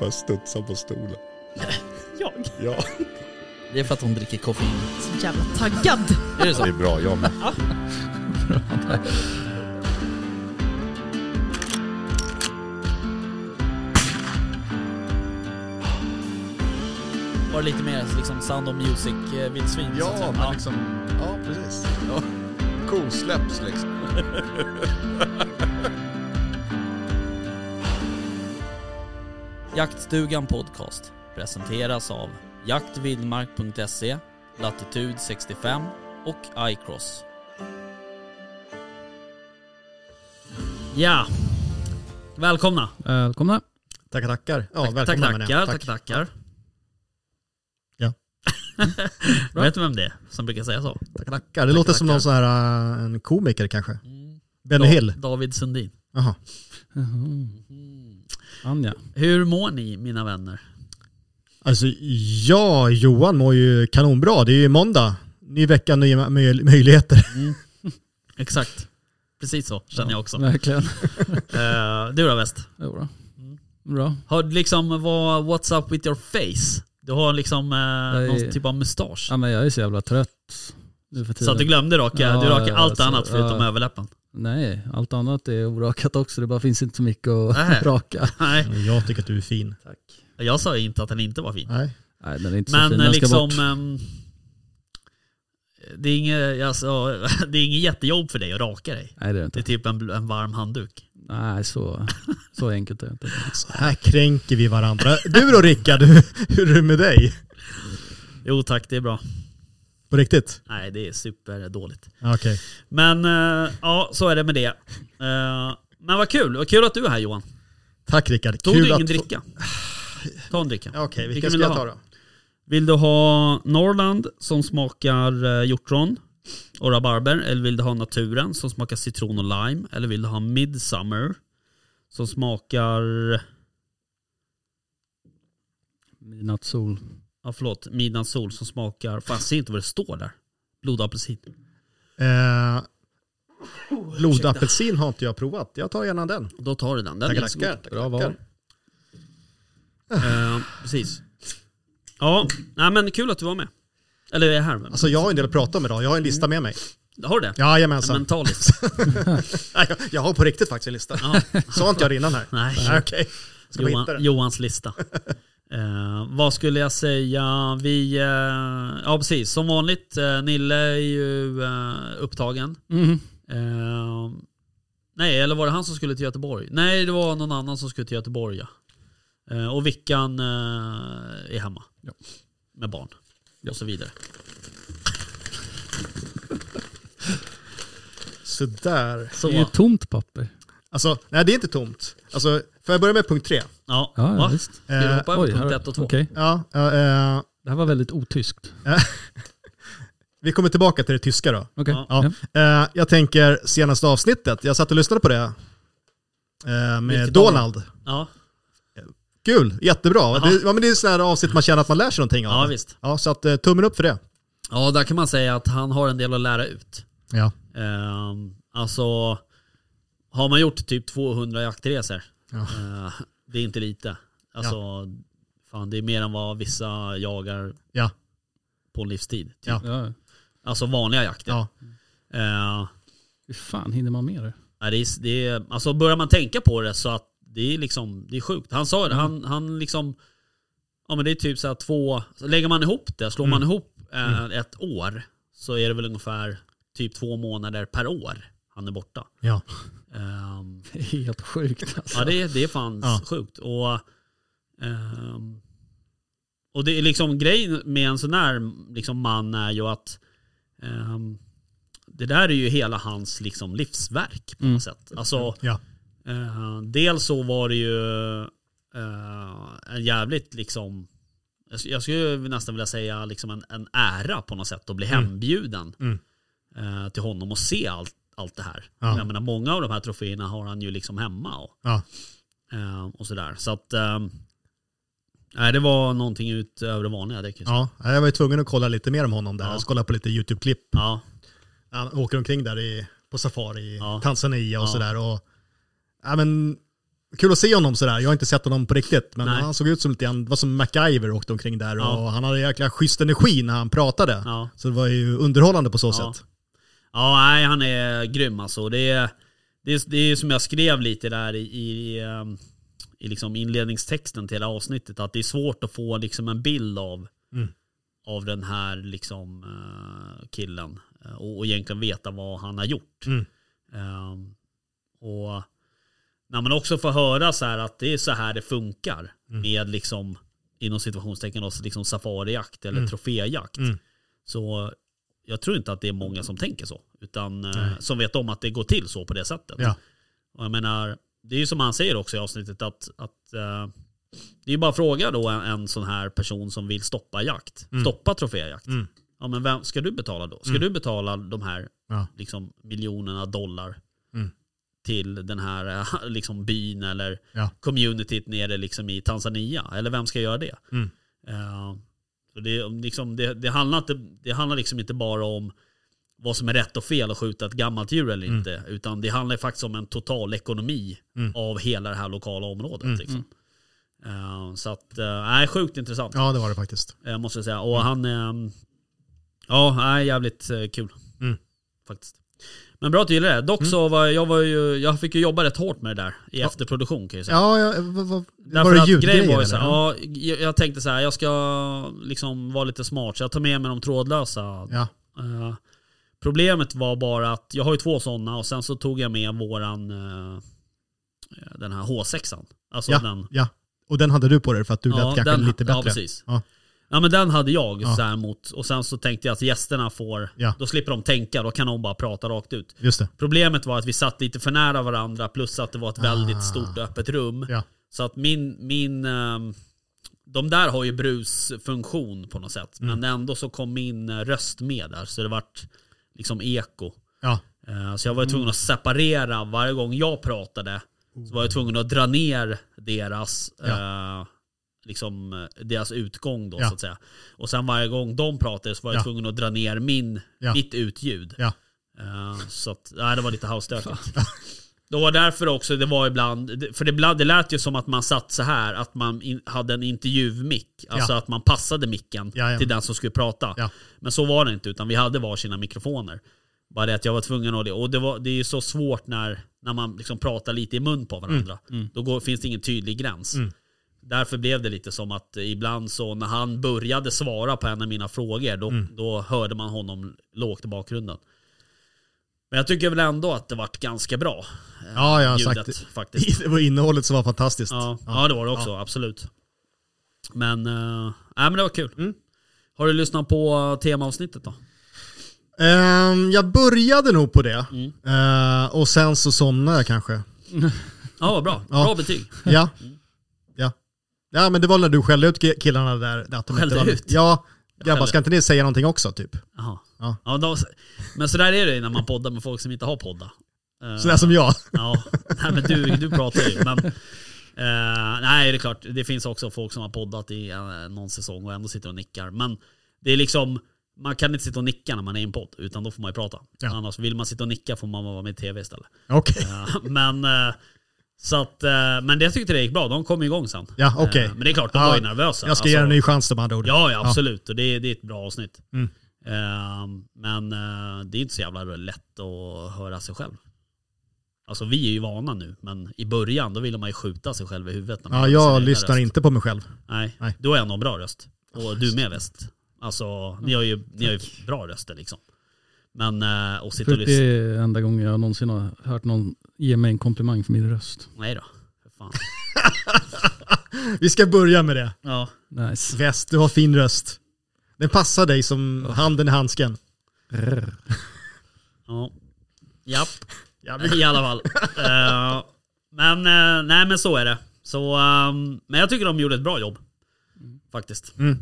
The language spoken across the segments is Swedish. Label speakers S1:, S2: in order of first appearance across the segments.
S1: Bara studsar på stolen.
S2: Jag?
S1: Ja,
S3: Det är för att hon dricker koffein.
S2: Så jävla taggad.
S3: Är det
S1: det
S3: så?
S1: är bra. Jag med.
S3: Var det lite mer liksom Sound of Music-vildsvin?
S1: Ja, men liksom... Ja, precis. Ja. Kosläpps liksom.
S3: Jaktstugan Podcast presenteras av jaktvildmark.se, Latitude 65 och iCross. Ja, välkomna.
S4: Välkomna.
S5: Tackar, tackar. Ja,
S3: Tack-
S5: välkomna
S3: tack,
S5: menar
S3: tackar,
S5: jag.
S3: tack, tackar.
S5: Ja.
S3: Vet du vem det är som brukar säga så?
S5: Tackar, tackar. Det låter som
S3: tackar.
S5: någon sån här, äh, en komiker kanske.
S3: Mm.
S5: Benny Hill.
S3: Da- David Sundin.
S5: Jaha.
S4: Anja.
S3: Hur mår ni mina vänner?
S5: Alltså, ja, Johan mår ju kanonbra. Det är ju måndag. Ny vecka, nya möj- möjligheter.
S3: Exakt. Precis så känner jag också.
S4: Verkligen.
S3: Eh, du då väst?
S4: Jo då. Bra.
S3: Har du liksom vad, what's up with your face? Du har liksom eh,
S4: är-
S3: någon typ av mustasch.
S4: Ja, men jag är så jävla trött nu för tiden.
S3: så att du glömde raka,
S4: Ja,
S3: du rakar
S4: ja,
S3: allt
S4: så-
S3: annat förutom
S4: ja.
S3: överläppen.
S4: Nej, allt annat är orakat också. Det bara finns inte så mycket att
S3: Nej.
S4: raka.
S3: Nej,
S5: Jag tycker att du är fin.
S4: Tack.
S3: jag sa ju inte att den inte var fin.
S5: Nej.
S4: Nej, den är inte så
S3: Men
S4: fin.
S3: eh,
S4: Den ska
S3: liksom,
S4: bort.
S3: ehm, det är inget alltså, det är inget jättejobb för dig att raka dig.
S4: Nej, det är det
S3: Det är
S4: inte.
S3: typ en, en varm handduk.
S4: Nej, så, så enkelt är det inte.
S5: Så här kränker vi varandra. Du då Rickard, hur hur är det med dig?
S3: Jo tack, det är bra.
S5: På riktigt?
S3: Nej, det är superdåligt.
S5: Ja, Okej.
S3: Men eh, ja, så är det med det. Eh, men vad kul, vad kul att du är här Johan.
S5: Tack Rickard.
S3: Tog
S5: Kul
S3: du ingen
S5: att få-
S3: dricka? Ta en dricka.
S5: Ja, Okej,
S3: Vilken
S5: vilken ska
S3: vill
S5: jag
S3: du ha?
S5: ta då?
S3: Vill du ha Norrland som smakar eh, hjortron och rabarber? Eller vill du ha naturen som smakar citron och lime? Eller vill du ha midsummer som smakar...
S4: Midnattssol.
S3: Ja förlåt, midnattssol som smakar... Fan, jag ser inte vad det står där. Blodapelsin.
S5: Eh, blodapelsin har inte jag provat. Jag tar gärna den.
S3: Då tar du den. Den är
S5: Tackar,
S3: inte så god.
S5: tackar.
S4: Bra
S5: tackar,
S4: val.
S5: tackar.
S3: Eh, precis. Ja, nej, men kul att du var med. Eller är här.
S5: Alltså jag har en del att prata om idag. Jag har en lista
S3: Mm.
S5: med mig.
S3: Har du det?
S5: Jajamensan.
S3: Mentalis.
S5: Nej, jag- jag har på riktigt faktiskt en lista.
S3: Ja.
S5: Sa inte jag det innan här?
S3: Nej.
S5: Nej, Okej. Ska vi hitta
S3: Johan,
S5: den?
S3: Johans lista. Eh, vad skulle jag säga? Vi, eh, ja precis, som vanligt. Eh, Nille är ju eh, upptagen.
S4: Mhm.
S3: Eh, nej, eller var det han som skulle till Göteborg? Nej, det var någon annan som skulle till Göteborg. Ja. Eh, och Vickan eh, är hemma.
S4: Ja.
S3: Med barn. Och så vidare.
S5: Sådär.
S3: Så,
S4: Det är ju tomt papper.
S5: Alltså, nej det är inte tomt. Alltså, får jag börja med punkt tre?
S3: ja,
S4: Ja,
S3: va?
S4: ja visst.
S3: Ska du
S5: Eh,
S3: hoppa över
S4: här-
S3: punkt ett och två?
S4: okej.
S5: Ja, ja, eh,
S4: Det här var väldigt otyskt.
S5: vi kommer tillbaka till det tyska då.
S4: Okej.
S3: Ja.
S5: Ja.
S4: Ja.
S5: Eh, jag tänker senaste avsnittet. Jag satt och lyssnade på det. Eh, med
S3: Vilket
S5: Donald.
S3: Ja,
S5: Kul, jättebra.
S3: Jaha.
S5: Det, ja, men det är sådana här avsnitt man känner att man lär sig någonting av.
S3: ja visst.
S5: Ja, så att, eh, tummen upp för det.
S3: Ja, där kan man säga att han har en del att lära ut.
S5: Ja.
S3: Um, alltså, har man gjort typ 200 jaktresor,
S5: Ja.
S3: eh, det är inte lite. Alltså, fan, det är mer än vad vissa jagar
S5: Ja.
S3: på en livstid. Typ.
S5: Ja.
S4: Ja.
S3: Alltså vanliga jakter.
S5: Ja.
S3: Eh,
S4: Hur fan hinner man med det?
S3: nej, det är, det är, alltså börjar man tänka på det så att det är liksom, det är sjukt. Han sa det, han, han liksom, ja men det är typ så här två, så lägger man ihop det, slår man ihop eh, ett år så är det väl ungefär typ två månader per år han är borta.
S5: Ja.
S3: Ehm,
S4: Det är helt sjukt alltså.
S3: Ja det, är- det är fan
S5: Ja.
S3: sjukt. Och, ehm, och det är liksom grejen med en sån här liksom, man är ju att ehm, det där är ju hela hans liksom, livsverk på något
S4: Mm.
S3: sätt. Alltså,
S5: Ja.
S3: eh, dels så var det ju eh, en jävligt liksom jag sk- jag skulle nästan vilja säga liksom en, en ära på något sätt att bli hembjuden
S5: Mm.
S3: eh, till honom och se allt, allt det här.
S5: Ja.
S3: Jag menar, många av de här troféerna har han ju liksom hemma. Och,
S5: Ja.
S3: Eh, och sådär. Så att... Eh, nej, det var någonting utöver det vanliga. Det kan jag säga.
S5: ja. Jag var ju tvungen att kolla lite mer om honom där.
S3: Ja.
S5: Jag ska kolla på lite YouTube-klipp.
S3: Ja.
S5: Han åker omkring där i, på safari i
S3: Ja.
S5: Tanzania och
S3: Ja.
S5: sådär. Och, ja, men, Kul att se honom sådär. Jag har inte sett honom på riktigt. Men
S3: Nej.
S5: han såg ut som lite grann, det var som MacGyver åkte omkring där.
S3: Ja.
S5: Och han hade jäkla schysst energi när han pratade.
S3: Ja.
S5: Så det var ju underhållande på så
S3: Ja.
S5: sätt.
S3: Ja, nej, han är grym alltså. Det är, det är, det är som jag skrev lite där i, i, ehm, i liksom inledningstexten till hela avsnittet, att det är svårt att få liksom en bild av,
S5: Mm.
S3: av den här liksom, eh, killen eh, och, och egentligen veta vad han har gjort.
S5: Mm.
S3: Ehm, och när man också får höra så här att det är så här det funkar
S5: Mm.
S3: med liksom, inom situationstecken då, liksom safarijakt eller troféjakt.
S5: Mm.
S3: Så jag tror inte att det är många som tänker så. Utan eh, som vet om att det går till så på det sättet.
S5: Ja.
S3: Och jag menar, det är ju som han säger också i avsnittet att, att eh, det är ju bara att fråga då en, en sån här person som vill stoppa jakt. Stoppa troféjakt.
S5: Mm.
S3: Ja men vem ska du betala då? Ska du betala de här
S5: Ja.
S3: liksom, miljonerna dollar
S5: Mm.
S3: till den här eh, liksom, byn eller
S5: Ja.
S3: communityt nere liksom, i Tanzania? Eller vem ska göra det?
S5: Mm.
S3: Eh, så det, liksom, det, det, handlar inte, det handlar liksom inte bara om vad som är rätt och fel att skjuta ett gammalt djur eller inte. Utan det handlar ju faktiskt om en total ekonomi
S5: Mm.
S3: av hela det här lokala området.
S5: Mm.
S3: Liksom. Eh, så att, eh, nej, sjukt intressant
S5: Ja, det var det faktiskt.
S3: eh, måste jag säga. Och
S5: Mm.
S3: han, ehm, ja, nej, jävligt eh, kul.
S5: Mm.
S3: Faktiskt. Men bra att du gillar det. Dock så var jag, var ju, jag fick ju jobba rätt hårt med det där i efterproduktion kan jag ju säga.
S5: Ja, ja eh, vad, vad,
S3: Därför
S5: var det
S3: att
S5: ljudgrejen
S3: grejen var ju
S5: eller?
S3: så här, ja, jag, jag tänkte så här, jag ska liksom vara lite smart så jag tar med mig de trådlösa.
S5: ja.
S3: Eh, problemet var bara att jag har ju två sådana och sen så tog jag med våran, eh, den här H6an. Alltså
S5: Ja,
S3: den.
S5: ja. Och den hade du på dig för att du lät kanske
S3: den-
S5: lite bättre.
S3: Ja, precis.
S5: Ja.
S3: Ja. men den hade jag
S5: Ja.
S3: så här mot, och sen så tänkte jag att gästerna får,
S5: Ja.
S3: då slipper de tänka, då kan de bara prata rakt ut.
S5: Just det.
S3: Problemet var att vi satt lite för nära varandra plus att det var ett väldigt stort öppet rum.
S5: Ah. Ja.
S3: Så att min, min ehm, de där har ju brusfunktion på något sätt.
S5: Mm.
S3: Men ändå så kom min eh, röst med där så det vart liksom eko.
S5: Ja.
S3: Eh, Så jag var ju tvungen att separera varje gång jag pratade. Så var jag tvungen att dra ner deras, eh, liksom, eh, deras utgång då
S5: Ja.
S3: så att säga. Och sen varje gång de pratade så var jag
S5: Ja.
S3: tvungen att dra ner min,
S5: Ja.
S3: mitt utljud.
S5: Ja.
S3: Eh, så att, nej, det var lite halvstökigt. Det var därför också det var ibland, för det, ibland, det lät ju som att man satt så här, att man in, hade en intervjumick. Alltså
S5: Ja.
S3: att man passade micken
S5: Jajamän.
S3: till den som skulle prata.
S5: Ja.
S3: Men så var det inte, utan vi hade varsina mikrofoner. Bara det att jag var tvungen att det. Och det, var, det är ju så svårt när, när man liksom pratar lite i mun
S5: Mm.
S3: på varandra. Då går, finns det ingen tydlig gräns. Därför blev det lite som att ibland så när han började svara på en av mina frågor, då,
S5: Mm.
S3: då hörde man honom lågt i bakgrunden. Men jag tycker väl ändå att det vart ganska bra,
S5: Ja, jag har sagt
S3: Eh, ljudet
S5: det.
S3: faktiskt.
S5: Det var innehållet som var fantastiskt.
S3: Ja, ja, det var det också, absolut. Men, uh, nej, men det var kul. Har du lyssnat på eh, temaavsnittet då?
S5: Ehm, jag började nog på det.
S3: Mm.
S5: Eh, och sen så somnade jag kanske.
S3: Ja, vad bra.
S5: Ja.
S3: Bra betyg.
S5: Ja.
S3: Mm.
S5: ja. Ja, men det var när du skällde ut ki- killarna där. Att de
S3: Skällde
S5: inte var,
S3: ut?
S5: Ja. Grabbar,
S3: skällde.
S5: ska inte ni säga någonting också, typ?
S3: Jaha.
S5: Ja.
S3: Ja. då, men sådär är det ju när man poddar med folk som inte har poddat. Eh,
S5: Sådär som jag.
S3: Ja, nej, men du, du pratar ju. Men, eh, nej, det är klart. Det finns också folk som har poddat i eh, någon säsong och ändå sitter och nickar. Men det är liksom, man kan inte sitta och nicka när man är i en podd, utan då får man ju prata.
S5: Ja.
S3: Annars vill man sitta och nicka får man vara med i tv istället.
S5: Okej.
S3: Eh, men, eh, så att, eh, men det tyckte det gick bra, de kom igång sen.
S5: Ja, okej.
S3: Eh, men det är klart, de var ju nervösa.
S5: Jag ska ge
S3: Alltså,
S5: en ny chans, de andra orden.
S3: Ja, ja absolut. Och det, är- det är ett bra avsnitt.
S5: Mm.
S3: Ehm, men eh, det är inte så jävla lätt att höra sig själv. Alltså vi är ju vana nu, men i början då ville man ju skjuta sig själv i huvudet. När man
S5: Ja,
S3: hörde sin
S5: jag
S3: egna
S5: lyssnar
S3: röst.
S5: inte på mig själv.
S3: Nej,
S5: Nej.
S3: du har ändå en bra röst. Och du med väst. Alltså ni har ju, ni har ju bra röster liksom. Men eh, och sitta och
S4: För det
S3: lyssna.
S4: är enda gången jag någonsin har hört någon ge mig en komplimang för min röst.
S3: Nej då. För Fan.
S5: Vi ska börja med det.
S3: Ja.
S4: Nice.
S5: Väst, du har fin röst. Den passar dig som handen i handsken.
S3: ja. Japp.
S5: Ja, vi-
S3: I alla fall. Eh, men eh, nej men så är det. Så, ehm, men jag tycker de gjorde ett bra jobb. Faktiskt.
S5: Mm.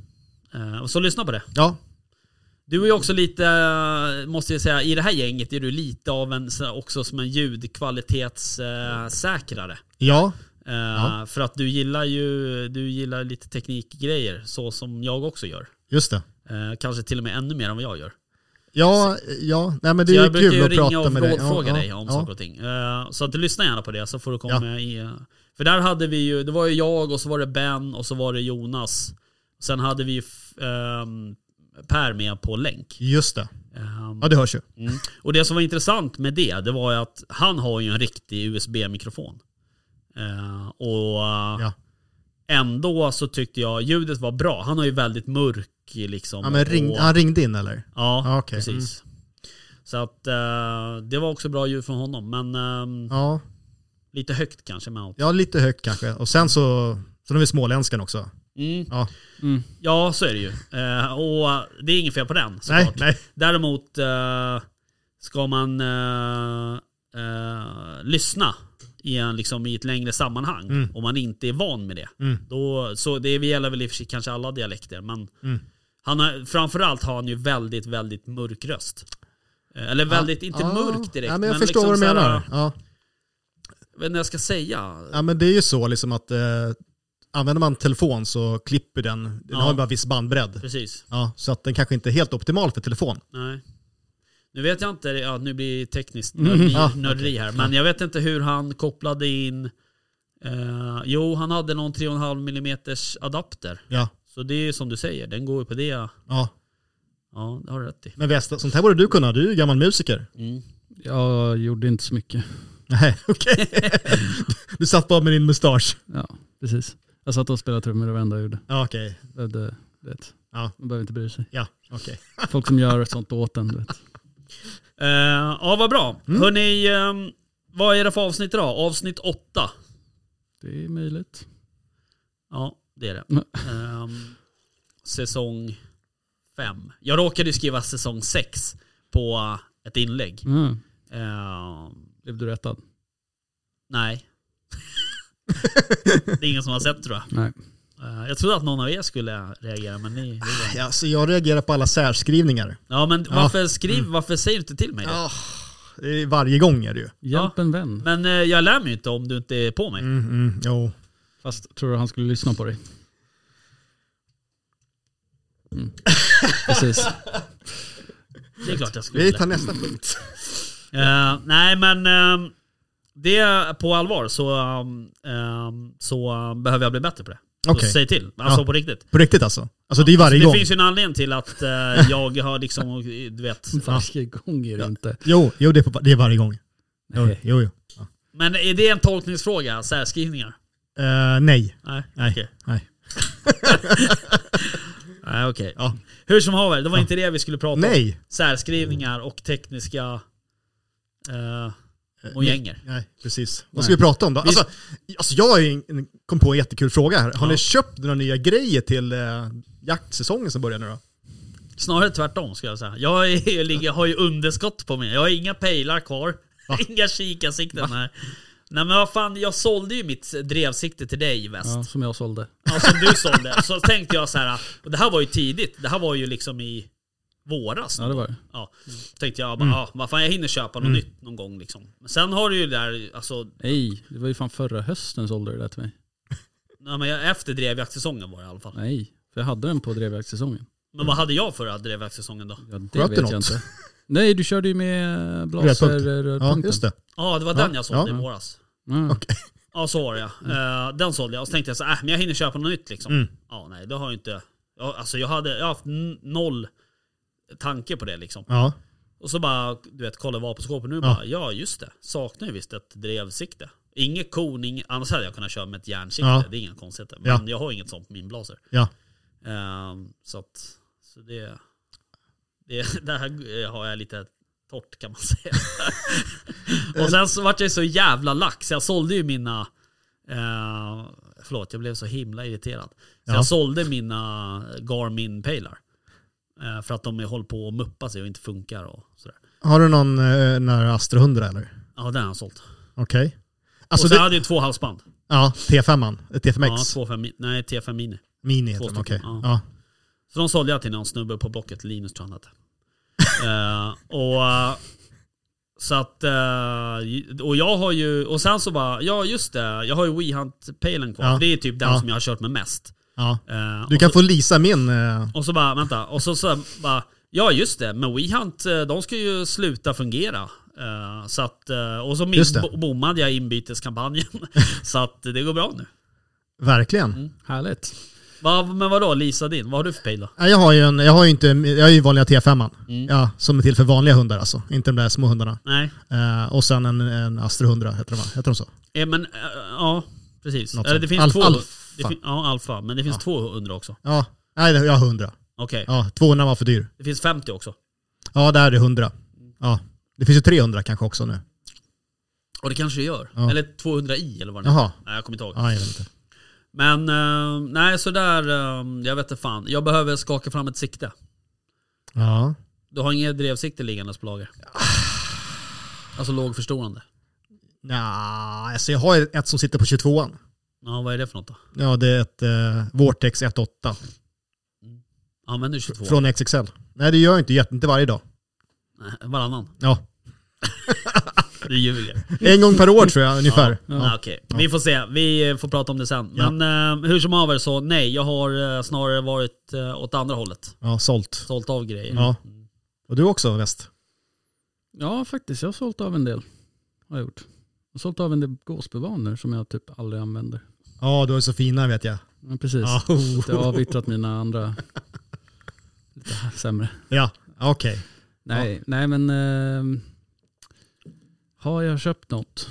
S3: Eh, och så lyssna på det.
S5: ja.
S3: Du är ju också lite, eh, måste jag säga, i det här gänget är du lite av en, så här, också som en ljudkvalitetssäkrare.
S5: ja.
S3: Eh, För att du gillar ju du gillar lite teknikgrejer, så som jag också gör.
S5: just det.
S3: Eh, kanske till och med ännu mer än vad jag gör.
S5: Ja, ja. Nej, men
S3: Så
S5: det är
S3: jag
S5: ju
S3: brukar
S5: kul
S3: ju
S5: att
S3: ringa
S5: prata
S3: och
S5: med dig.
S3: fråga dig om saker och ting. Eh, Så att lyssna gärna på det så får du komma
S5: Ja.
S3: med i... eh, För där hade vi ju, det var ju jag och så var det Ben och så var det Jonas. Sen hade vi ju f- ehm, Per med på länk.
S5: Just det.
S3: Ehm,
S5: Ja, det hörs ju.
S3: Mm. Och det som var intressant med det, det var ju att han har ju en riktig USB-mikrofon. Eh, och eh,
S5: Ja.
S3: ändå så tyckte jag ljudet var bra. Han har ju väldigt mörk liksom.
S5: Ja, men ring,
S3: och,
S5: han ringde in eller?
S3: ja
S5: Ja, okej. Mm.
S3: precis. Så att eh, det var också bra ljud från honom. Men ehm,
S5: Ja,
S3: lite högt kanske. Med allt.
S5: ja lite högt kanske. Och sen så, sen har vi småländskan också.
S3: mm.
S5: Ja.
S4: Mm.
S3: ja, så är det ju. Eh, och det är inget fel på den
S5: Nej,
S3: såklart.
S5: nej.
S3: Däremot eh, ska man eh, eh, lyssna i, en, liksom, i ett längre sammanhang
S5: Mm.
S3: om man inte är van med det.
S5: Mm.
S3: Då, så det gäller väl i och för sig kanske alla dialekter. Men
S5: Mm.
S3: han har, framförallt har han ju väldigt, väldigt mörk röst. Eh, Eller väldigt, inte
S5: Ja.
S3: mörk direkt.
S5: ah. Ja, men jag förstår
S3: liksom
S5: vad
S3: så
S5: du
S3: här,
S5: menar. Ja.
S3: Jag vet inte vad jag ska säga.
S5: ja, men det är ju så liksom att eh, använder man telefon så klipper den, den
S3: Ja.
S5: har ju bara viss bandbredd.
S3: Precis.
S5: Ja, så att den kanske inte är helt optimal för telefon.
S3: Nej. Nu vet jag inte, ja, nu blir det tekniskt
S4: Mhm.
S3: nörderi,
S5: Mm. Ja,
S3: nörderi här, men jag vet inte hur han kopplade in... Eh, jo, han hade någon 3,5 mm adapter.
S5: Ja.
S3: Så det är ju som du säger, den går ju på det. Ja,
S5: Ja.
S3: det har du rätt i.
S5: Men Västa, sånt här borde du kunna, du är ju gammal musiker.
S4: Jag gjorde inte så mycket.
S5: Nej, okej. du satt bara med din mustasch.
S4: Ja, precis. Jag satt och spelade trummor det var det enda jag gjorde.
S5: Ja, okej.
S4: Behövde, du vet.
S5: Ja.
S4: Man behöver inte bry sig.
S5: Ja, okej.
S4: Folk som gör sånt åt en, du vet.
S3: Eh, ja, vad bra.
S5: Mm.
S3: Hörrni, ehm, vad är det för avsnitt idag? Avsnitt 8.
S4: Det är möjligt.
S3: Ja, det är det.
S4: Mm.
S3: Ehm, säsong 5. Jag råkade ju skriva säsong 6 på eh, ett inlägg.
S4: Mm.
S3: Ehm,
S4: Blev du rättad?
S3: Nej. det är ingen som har sett tror jag.
S4: Nej.
S3: Eh, Jag trodde att någon av er skulle reagera men ni... ni-
S5: Ja, så jag reagerar på alla särskrivningar.
S3: Ja men varför, skriv, varför säger du inte till mig det?
S5: Mm. Ja, Ah, det är varje gång är det ju.
S4: Hjälp en vän.
S3: Men eh, jag lär mig ju inte om du inte är på mig.
S5: Mm, mm, jo.
S4: Fast tror du han skulle lyssna på dig? Mm. Precis.
S3: Det är klart jag skulle.
S5: Vi tar nästa punkt.
S3: Eh, nej men eh, det på allvar så, eh, så eh, behöver jag bli bättre på det.
S5: Okej.
S3: Så säg till. Alltså
S5: Ja.
S3: på riktigt.
S5: På riktigt alltså? Alltså det är varje
S3: Det
S5: gång?
S3: finns ju en anledning till att eh, jag har liksom, du vet.
S4: Varje gång är det inte.
S5: Jo, jo det, är på, det är varje gång. Jo,
S4: Nej.
S5: jo. jo.
S3: Men är det en tolkningsfråga, särskrivningar?
S5: Eh, nej.
S3: Nej,
S5: Nej.
S3: okej.
S5: Nej.
S3: Nej okej.
S5: Ja.
S3: Hur som haver, det var inte det vi skulle prata om.
S5: Nej.
S3: Särskrivningar och tekniska eh, mojänger.
S5: Nej, precis. Vad ska vi prata om då? Alltså, alltså jag har ju en- kom på en jättekul fråga här. Har
S3: Ja.
S5: ni köpt några nya grejer till eh, jaktsäsongen som börjar nu då?
S3: Snarare tvärtom skulle jag säga. Jag, är, jag ligger, har ju underskott på mig. Jag har inga pejlar kvar.
S5: Va?
S3: inga kikarsikten här. Nej men vad fan, jag sålde ju mitt drevsikte till dig väst.
S4: Ja, som jag sålde.
S3: Ja, som du sålde. Så tänkte jag så här, och det här var ju tidigt. Det här var ju liksom i våras.
S4: Ja, det var Mm. det.
S3: Ja, tänkte jag bara, ja, vad fan jag hinner köpa något nytt någon gång liksom. Men sen har du ju där, alltså,
S4: Nej, det var ju fan förra hösten sålde du det där till mig.
S3: nej, men jag, efter drevjaktsäsongen var det i alla fall.
S4: Nej, för jag hade den på drevjaktssäsongen.
S3: Men vad hade jag förra drevjaktsäsongen då?
S4: Ja, det
S5: Sköt du
S4: vet
S5: något?
S4: jag inte. Nej, du körde ju med eh, blaser
S5: Rödpunkt. Ja,
S4: rödpunkten.
S5: just det.
S3: Ja, det var den jag sålde
S5: ja.
S3: i våras.
S4: Ja.
S3: Ja, så var det ja. Eh, den sålde jag och så tänkte jag så här, äh, men jag hinner köpa något nytt liksom.
S5: Mm.
S3: Ja, nej, det har jag inte. Ja, alltså jag hade, jag har haft n- noll tanke på det liksom.
S5: Ja.
S3: Och så bara, du vet, kolla vapenskåpet nu bara, ja just det. Saknar ju visst ett drevsikte. Inget kon, ing- annars hade jag kunnat köra med ett järnsikte.
S5: Ja.
S3: Det är inga konstigheter. Men
S5: Ja.
S3: jag har inget sånt på min blaser.
S5: Ja.
S3: Ehm, så att, så det, det, det här eh, har jag lite torrt kan man säga. Och sen så vart jag så jävla lack så jag sålde ju mina, eh, förlåt jag blev så himla irriterad. Så
S5: Ja.
S3: jag sålde mina Garmin-pejlar. Eh, För att de håller på att muppa sig och inte funkar och sådär.
S5: Har du någon eh, nära Astra 100 eller?
S3: Ja, den har jag sålt.
S5: Okej. Alltså
S3: och sen
S5: det,
S3: hade jag ju två halsband.
S5: ja, T5an. eh, T5X.
S3: Ja, två fem, nej, T5 Mini.
S5: Mini heter
S3: två
S5: den, okej.
S3: stycken, ja.
S5: Ja.
S3: Så de sålde jag till någon snubbe på Blocket, Linus tror jag han hette. Eh, och, eh, så att, eh, och jag har ju, och sen så bara, ja just det, jag har ju WeHunt-pejlen kvar.
S5: Ja.
S3: Det är typ den
S5: Ja.
S3: som jag har kört med mest.
S5: ja.
S3: Eh,
S5: Du
S3: och
S5: kan
S3: så-
S5: få lisa min. eh,
S3: Och så bara, vänta. Och så, så bara, Ja just det, men WeHunt eh, de ska ju sluta fungera. Eh, Så att, eh, och så
S5: Just det.
S3: min- bo- bommade jag inbyteskampanjen. så att det går bra nu.
S5: Verkligen.
S3: Mm.
S4: Härligt.
S3: Va, men vadå Lisa din, vad har du för pejl då?
S5: Ja, Jag har ju, en, jag har ju, inte, jag har ju vanliga T5an.
S3: Mm.
S5: Ja, som är till för vanliga hundar alltså. Inte de där små hundarna.
S3: Nej,
S5: Eh, och sen en, en Astra 100 heter de, va? heter de så?
S3: eh, men eh, ja precis.
S5: Något
S3: Eller
S5: sånt.
S3: det finns
S5: Alf-
S3: två,
S5: Alfa.
S3: Det fin, ja alfa, men det finns 200 också.
S5: Ja, nej jag har 100.
S3: Okej,
S5: Ja, 200 var för dyr.
S3: det finns 50 också.
S5: Ja, där är det 100. Ja, det finns ju 300 kanske också nu.
S3: Och det kanske det gör.
S5: Ja.
S3: Eller 200 i eller vad det är.
S5: Jaha.
S3: Nej jag kommer inte ihåg.
S5: Ja, jag vet inte.
S3: Men eh, nej så där, eh, jag vet inte fan. Jag behöver skaka fram ett sikte.
S5: Ja.
S3: Du har inget drevsikte liggandes på lager?
S5: Ah.
S3: Alltså lågförstorande.
S5: Nja, alltså jag har ju ett som sitter på 22an.
S3: Ja, vad är det för något då?
S5: Ja, det är ett eh, Vortex 18
S3: Använder du 22?
S5: från XXL. Nej, det gör jag inte, jätte- inte varje dag.
S3: Nej, varannan?
S5: Ja,
S3: Du ljuger.
S5: en gång per år tror jag ungefär.
S3: Ja, okej. Vi får se, vi får prata om det sen. Men eh, hur som haver så nej, jag har eh, snarare varit eh, åt andra hållet.
S5: Ja, sålt.
S3: Sålt av grejer.
S5: Ja. Och du också väst?
S4: Ja faktiskt, jag har sålt av en del. Har jag gjort. Jag har sålt av en del gåsbevaner som jag typ aldrig använder.
S5: Ja, du är så fina vet jag.
S4: Men precis.
S5: Ja.
S4: Så att jag har avyttrat mina andra lite här sämre.
S5: Ja, okej.
S4: Nej, nej men eh, har jag köpt något?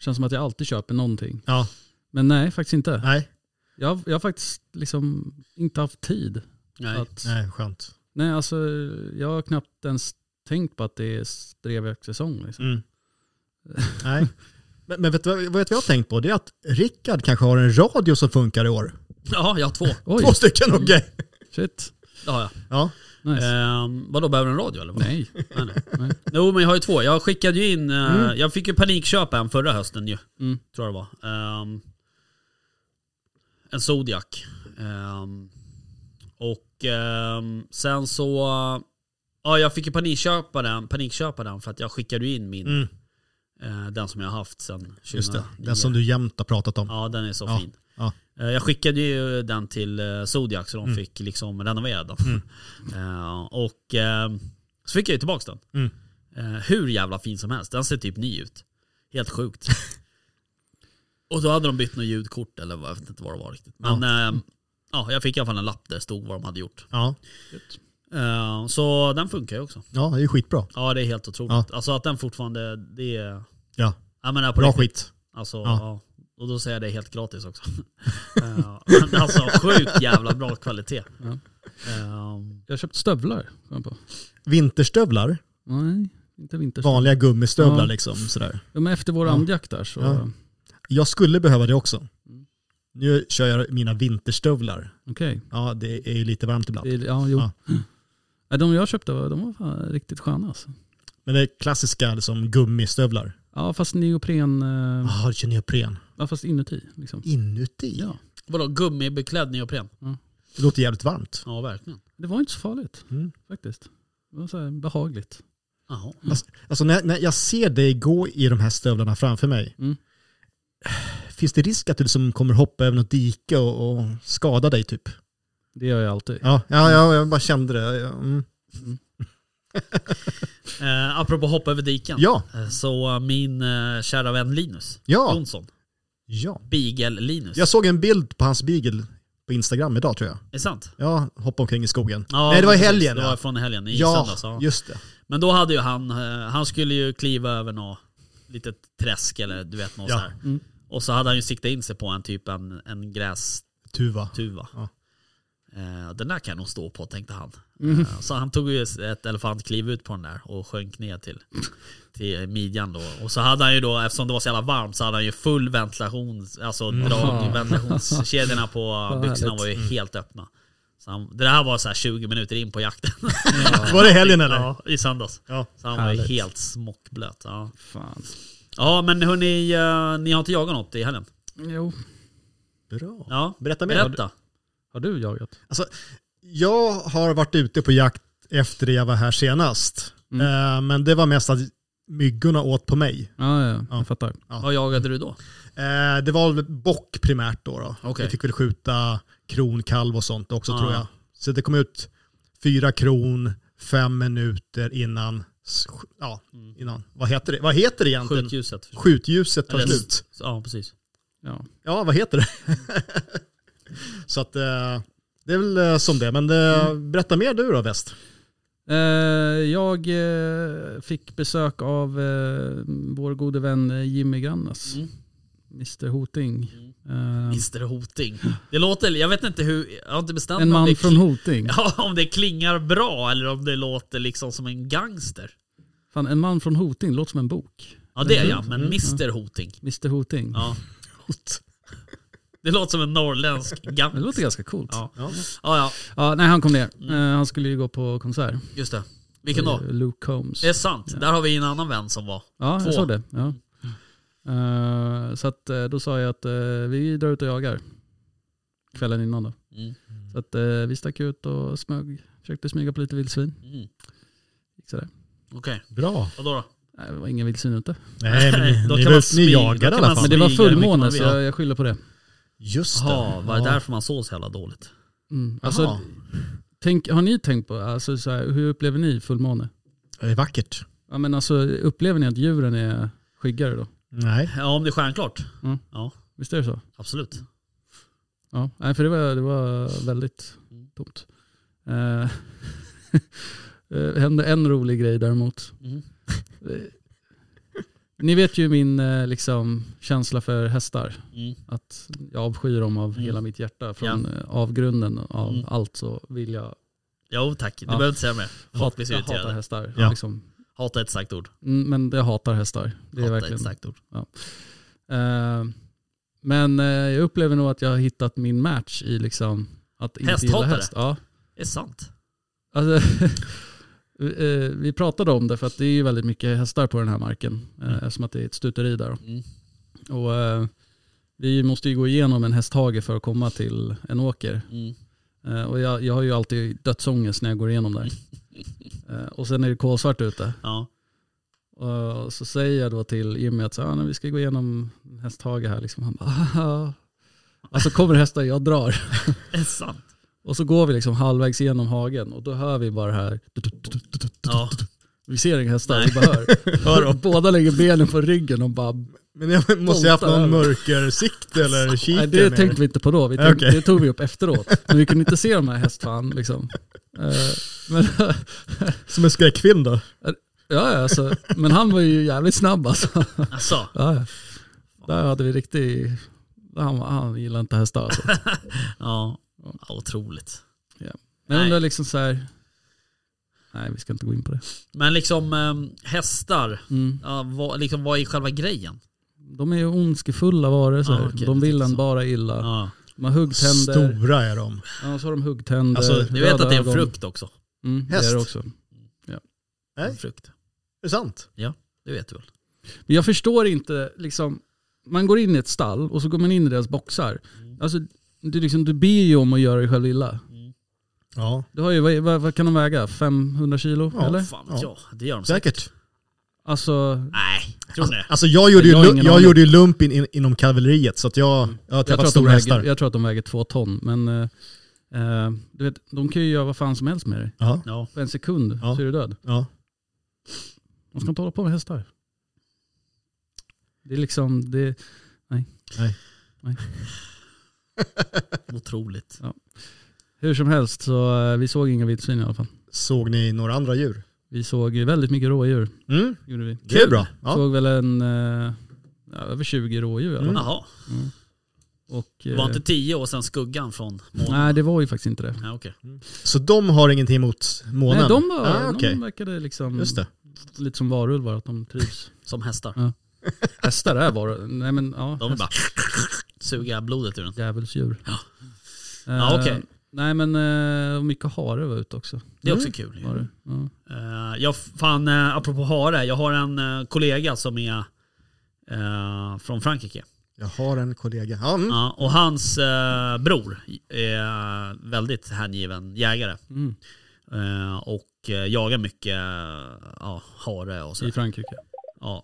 S4: Känns som att jag alltid köper någonting.
S5: Ja,
S4: Men nej, faktiskt inte.
S5: nej.
S4: Jag, har- jag har faktiskt liksom inte haft tid.
S3: Nej.
S4: Att, nej.
S5: Nej, skönt.
S4: alltså jag har knappt ens tänkt på att det är strevjaktsäsong. Liksom.
S5: Mm. Nej. Men, men vet du vad- vad vet vi har tänkt på? Det är att Rickard kanske har en radio som funkar i år.
S3: Ja, jag har två.
S4: Oj,
S5: Två stycken, okej.
S4: shit.
S3: Det har jag.
S5: Ja.
S4: Nice.
S5: Eh.
S3: Ehm, vadå, behöver du en radio eller? Vad?
S4: Nej.
S3: Nej, nej.
S4: nej.
S3: Jo men jag har ju två. Jag skickade ju in, eh,
S5: Mm.
S3: jag fick ju panikköpa en förra hösten ju.
S4: Mm.
S3: Tror jag det var. Ehm, en Zodiac. Ehm, och ehm, sen så, ja jag fick ju panikköpa den, panikköpa den för att jag skickade ju in min,
S5: Mm.
S3: eh, den som jag har haft sedan 2009.
S5: Just det, den som du jämt har pratat om.
S3: Ja den är så
S5: Ja,
S3: fin.
S5: ja. Mm.
S3: Eh, Jag skickade ju den till eh, Zodiac så de fick liksom renovera den. Eh, Och eh, så fick jag ju tillbaka den.
S5: Mm.
S3: Eh, Hur jävla fin som helst. Den ser typ ny ut. Helt sjukt. Och då hade de bytt något ljudkort eller vad- jag vet inte vad det var riktigt. Men eh, ja, jag fick i alla fall en lapp där det stod vad de hade gjort.
S5: Ja,
S3: Eh, Så den funkar ju också.
S5: ja det är ju skitbra.
S3: Ja det är helt otroligt. Alltså att den fortfarande, det är...
S5: Ja.
S3: Jag menar på
S5: Bra
S3: riktigt.
S5: skit.
S3: Alltså,
S5: Ja.
S3: ja. Och då säger jag det helt gratis också. Eh, men alltså sjukt jävla bra kvalitet.
S4: Ja.
S3: Ehm,
S4: Jag har köpt stövlar. kom jag På.
S5: Vinterstövlar,
S4: Nej, inte vinterstövlar.
S5: vanliga gummistövlar
S4: Ja.
S5: liksom. Sådär.
S4: Ja, men efter vår
S5: Ja.
S4: andjakt där så,
S5: Ja. Jag skulle behöva det också. Nu kör jag mina vinterstövlar.
S4: okej.
S5: Ja, det är ju lite varmt ibland.
S4: Det är- Ja, jo.
S5: Ja.
S4: Nej, De jag köpte var, de var fan riktigt sköna alltså.
S5: Men det är klassiska liksom, gummistövlar. Ah,
S4: Ja, fast neopren,
S3: Mm.
S4: eh,
S5: Jaha, du kör neopren.
S4: ja, fast inuti liksom.
S5: Inuti?
S4: Ja.
S3: vadå, gummibeklädd neopren?
S5: Det låter jävligt varmt.
S3: Ja, verkligen.
S4: Det var inte så farligt
S5: Mm.
S4: faktiskt. Det var så här behagligt.
S3: Jaha.
S5: Alltså när, när jag ser dig gå i de här stövlarna framför mig,
S4: Mm.
S5: finns det risk att du liksom kommer hoppa över något dike och, och skada dig typ?
S4: Det gör jag alltid.
S5: Ja, ja, ja jag bara kände det. Ja, Mm.
S3: Eh, apropå hoppa över diken.
S5: Ja,
S3: Eh, Så min eh, kära vän Linus
S5: ja,
S3: Jonsson,
S5: ja.
S3: Beagle-Linus.
S5: Jag såg en bild på hans beagle på Instagram idag tror jag.
S3: Är det sant?
S5: Ja, hoppa omkring i skogen.
S3: Ja,
S5: Nej, det var i
S3: precis.
S5: helgen.
S3: Det
S5: ja.
S3: var från helgen, i
S5: ja,
S3: söndags. Ja.
S5: just det.
S3: Men då hade ju han, eh, han skulle ju kliva över något litet träsk eller du vet något
S5: Ja.
S3: så här.
S4: Mm.
S3: Och så hade han ju siktat in sig på en typ en, en gräs
S5: Tuva.
S3: tuva.
S5: Ja.
S3: Eh, den där kan jag nog stå på tänkte han. Eh, så han tog ju ett elefantkliv ut på den där och sjönk ner till, till midjan då. Och så hade han ju då, eftersom det var så jävla varmt, så hade han ju full ventilation, alltså drag,
S4: Jaha.
S3: ventilationskedjorna på byxorna
S4: härligt.
S3: var ju helt öppna. Så han, det där var så här 20 minuter in på jakten.
S5: Var det helgen eller?
S3: ja, i söndags.
S5: Ja.
S3: Så han var ju
S4: Härligt.
S3: helt smockblöt. Ja,
S4: Fan.
S3: ja men hörni, eh, ni har inte jagat något i helgen?
S4: Jo.
S5: Bra.
S3: Ja.
S5: Berätta mer.
S3: Berätta.
S4: Har du jagat?
S5: Jag har varit ute på jakt efter det jag var här senast.
S3: Mm.
S5: Eh, Men det var mest att myggorna åt på mig.
S4: Ja, ja,
S5: Ja.
S4: jag fattar.
S3: Vad jagade du då?
S5: Eh, det var väl bock primärt då. då.
S3: Okej.
S5: Vi fick väl skjuta kronkalv och sånt också
S3: Ah.
S5: tror jag. Så det kom ut fyra kron, fem minuter innan, s- ja,
S3: Mm.
S5: innan. Vad heter det, vad heter det egentligen?
S3: Skjutljuset. försvinner.
S5: Skjutljuset tar
S3: Eller-
S5: slut.
S3: Ja, precis.
S4: Ja.
S5: Ja, vad heter det? Så att eh, det är väl eh, som det. Men eh,
S3: Mm.
S5: berätta mer du då, Väst.
S4: Eh, jag eh, fick besök av eh, vår gode vän eh, Jimmy Grannes.
S3: Mm.
S4: Mr Hoting. Eh,
S3: Mr Hoting. Det låter, jag vet inte hur, jag har inte bestämt
S4: en
S3: mig om
S4: man
S3: det
S4: från
S3: kli-
S4: Hoting.
S3: Ja, om det klingar bra eller om det låter liksom som en gangster.
S4: Fan, en man från Hoting låter som en bok.
S3: Ja det är jag,
S4: Mm.
S3: men Mr Hoting.
S4: Mr Hoting.
S3: Ja. Det låter som en norrländsk
S4: Det
S3: gangster.
S4: låter ganska coolt.
S3: Ja.
S4: Ja.
S3: Ja, ja,
S4: nej, han kom ner. Eh, han skulle ju gå på konsert.
S3: just det. Vilken då?
S4: Eh, Luke Combs.
S3: Det är sant. Där har vi en annan vän som var.
S4: Ja,
S3: Två. Mm.
S4: jag såg det. Ja. Eh, så att, eh, då sa jag att eh, vi drar ut och jagar. Kvällen innan då.
S3: Mm.
S4: Så att, eh, vi stack ut och smög, försökte smyga på lite vildsvin.
S3: Mm.
S4: Gick sådär.
S3: Okej,
S5: Bra.
S3: vadå då?
S4: Nej, det var inga vildsvin ute.
S5: Nej, men ni,
S3: Då
S5: ni,
S3: kan man
S5: ni,
S3: smyga,
S5: jagar i
S3: då kan
S5: alla
S3: man
S5: fall.
S4: Men det var
S3: smyga,
S4: fullmåne så
S3: vilket man vill.
S4: jag, jag skyller på det.
S5: Just det.
S3: Jaha, var det
S5: Ja.
S3: därför man såg så jävla dåligt?
S4: Mm. Alltså,
S5: Jaha.
S4: tänk, har ni tänkt på, alltså, så här, hur upplever ni fullmåne?
S5: Det är vackert.
S4: Ja, men alltså, upplever ni att djuren är skyggare då?
S5: Nej.
S3: Ja, om det är stjärnklart.
S4: Mm.
S3: Ja,
S4: Visst är det så?
S3: absolut.
S4: Ja, nej, för det var, det var väldigt tomt. Eh, eh, hände en rolig grej däremot.
S3: Mm.
S4: Eh, Ni vet ju min eh, liksom, känsla för hästar.
S3: Mm.
S4: Att jag avskyr dem av
S3: Mm.
S4: hela mitt hjärta. Från eh, avgrunden av
S3: Mm.
S4: allt så vill jag,
S3: Jo tack, du
S4: Ja.
S3: behöver inte säga mer. Folk blir så
S4: jag hatar
S3: irriterade.
S4: hästar.
S5: Ja.
S4: Liksom.
S3: Hata ett starkt ord.
S4: Mm, Men jag hatar hästar. Det är
S3: Hata ett
S4: verkligen.
S3: starkt ord.
S4: Eh, men eh, jag upplever nog att jag har hittat min match i liksom, att inte gilla
S3: Hästhatare?
S4: häst. Ja.
S3: Det är sant.
S4: Alltså, eh, vi pratade om det för att det är ju väldigt mycket hästar på den här marken. eh, Eftersom att det är ett stuteri där.
S3: Mm.
S4: Och, eh, vi måste ju gå igenom en hästhage för att komma till en åker.
S3: Mm.
S4: Eh, och jag, jag har ju alltid dödsångest när jag går igenom där.
S3: Mm.
S4: Eh, och sen är det kolsvart ute.
S3: Ja.
S4: Och så säger jag då till Jimmy att så, ah, nej, vi ska gå igenom en hästhage här. Liksom. Han bara, "Ah." Alltså kommer hästar, jag drar.
S3: Det är sant.
S4: Och så går vi liksom halvvägs igenom hagen och då hör vi bara det här.
S3: Ja.
S4: Vi ser inga hästar,
S3: Nej.
S4: vi bara hör.
S5: Hör dem.
S4: Båda lägger benen på ryggen och bara...
S5: Men jag måste jag haft
S4: Voltar
S5: någon
S4: över.
S5: mörkersikt eller kikare?
S4: Nej, det
S5: med
S4: tänkte vi inte på då. Vi tänkte,
S5: Okej.
S4: Det tog vi upp efteråt. Men vi kunde inte se de här hästfan liksom. Eh, Men,
S5: Som en skräckfilm då?
S4: ja, ja, alltså, men han var ju jävligt snabb alltså.
S3: Alltså,
S4: Ja, ja. Där hade vi riktigt... Han, han gillar inte hästar alltså.
S3: ja. ja otroligt.
S4: Men
S3: Nej.
S4: undrar liksom så här... Nej, vi ska inte gå in på det.
S3: Men liksom ehm, hästar,
S4: Mm.
S3: ja, vad, liksom, vad är själva grejen?
S4: De är ju ondskefulla varelser.
S3: Ja, Ah, okej,
S4: de
S3: det
S4: vill
S3: är
S4: en
S3: så.
S4: bara illa.
S3: Ja.
S4: De har huggtänder.
S5: Stora är de.
S4: Ja, så har de huggtänder.
S5: Alltså,
S3: Du vet
S4: röda
S3: att det är en
S4: ögon.
S3: frukt också?
S4: Mm, det
S5: Häst.
S4: är det också.
S5: Nej.
S3: En frukt.
S5: Är det sant?
S3: Det vet du väl?
S4: Men jag förstår inte, liksom, man går in i ett stall och så går man in i deras boxar.
S3: Mm.
S4: Alltså, du, liksom, du ber ju om att göra dig själv illa.
S5: Ja,
S4: Du har ju, vad, vad, vad kan de väga? 500 kilo?
S5: Ja.
S4: eller?
S3: Fan vet
S5: Ja.
S3: jag. Det gör de säkert.
S5: säkert.
S4: Alltså,
S3: Nej, tror ni?
S5: Alltså jag gjorde ju,
S4: Jag har
S5: lu-
S4: ingen
S5: jag
S4: aning. Mm.
S5: gjorde ju lump in, in, inom kavalleriet så att jag, jag har träffat
S4: jag, tror att de
S5: stora hästar.
S4: väger, jag tror att de väger två ton. Men eh, eh, du vet, de kan ju göra vad fan som helst med dig.
S5: Ja,
S3: Ja.
S4: På en sekund
S5: Ja.
S4: så är du död.
S5: ja.
S4: Man ska inte hålla på med hästar. Det är liksom, det,
S3: Otroligt.
S4: hur som helst så eh, vi såg inga vildsvin i alla fall.
S5: Såg ni några andra djur?
S4: Vi såg ju väldigt mycket rådjur.
S5: Mm,
S4: Gjorde vi.
S5: det är bra. Ja.
S4: Såg väl en, eh, ja, över 20 rådjur i alla fall.
S5: Mm.
S3: Jaha,
S4: Och,
S3: det
S4: eh,
S3: var inte tio år sedan skuggan från månen?
S4: Nej det var ju faktiskt inte det.
S3: Nej, okej.
S5: Så de har ingenting emot månen?
S4: Nej de, var,
S5: ah, okej.
S4: de verkade liksom
S5: Just det.
S4: lite som varulvar, att de trivs.
S3: Som hästar.
S4: Hästar är varulvar, nej men ja.
S3: De bara suga blodet ur den.
S4: Djävulsdjur.
S3: Ja.
S4: Eh,
S3: Ja, okej.
S4: Nej men eh, och mycket hare var ute också.
S3: Det är
S5: Mm.
S3: också kul.
S4: Var det. Ja.
S3: Eh, jag fan, eh, apropå hare, jag har en eh, kollega som är eh, från Frankrike.
S5: Jag har en kollega. Ja, mm.
S3: Ja, och hans eh, bror är väldigt hängiven jägare.
S4: Mm.
S3: Eh, och eh, jagar mycket ja, hare och
S4: I
S3: sådär.
S4: Frankrike.
S3: Ja.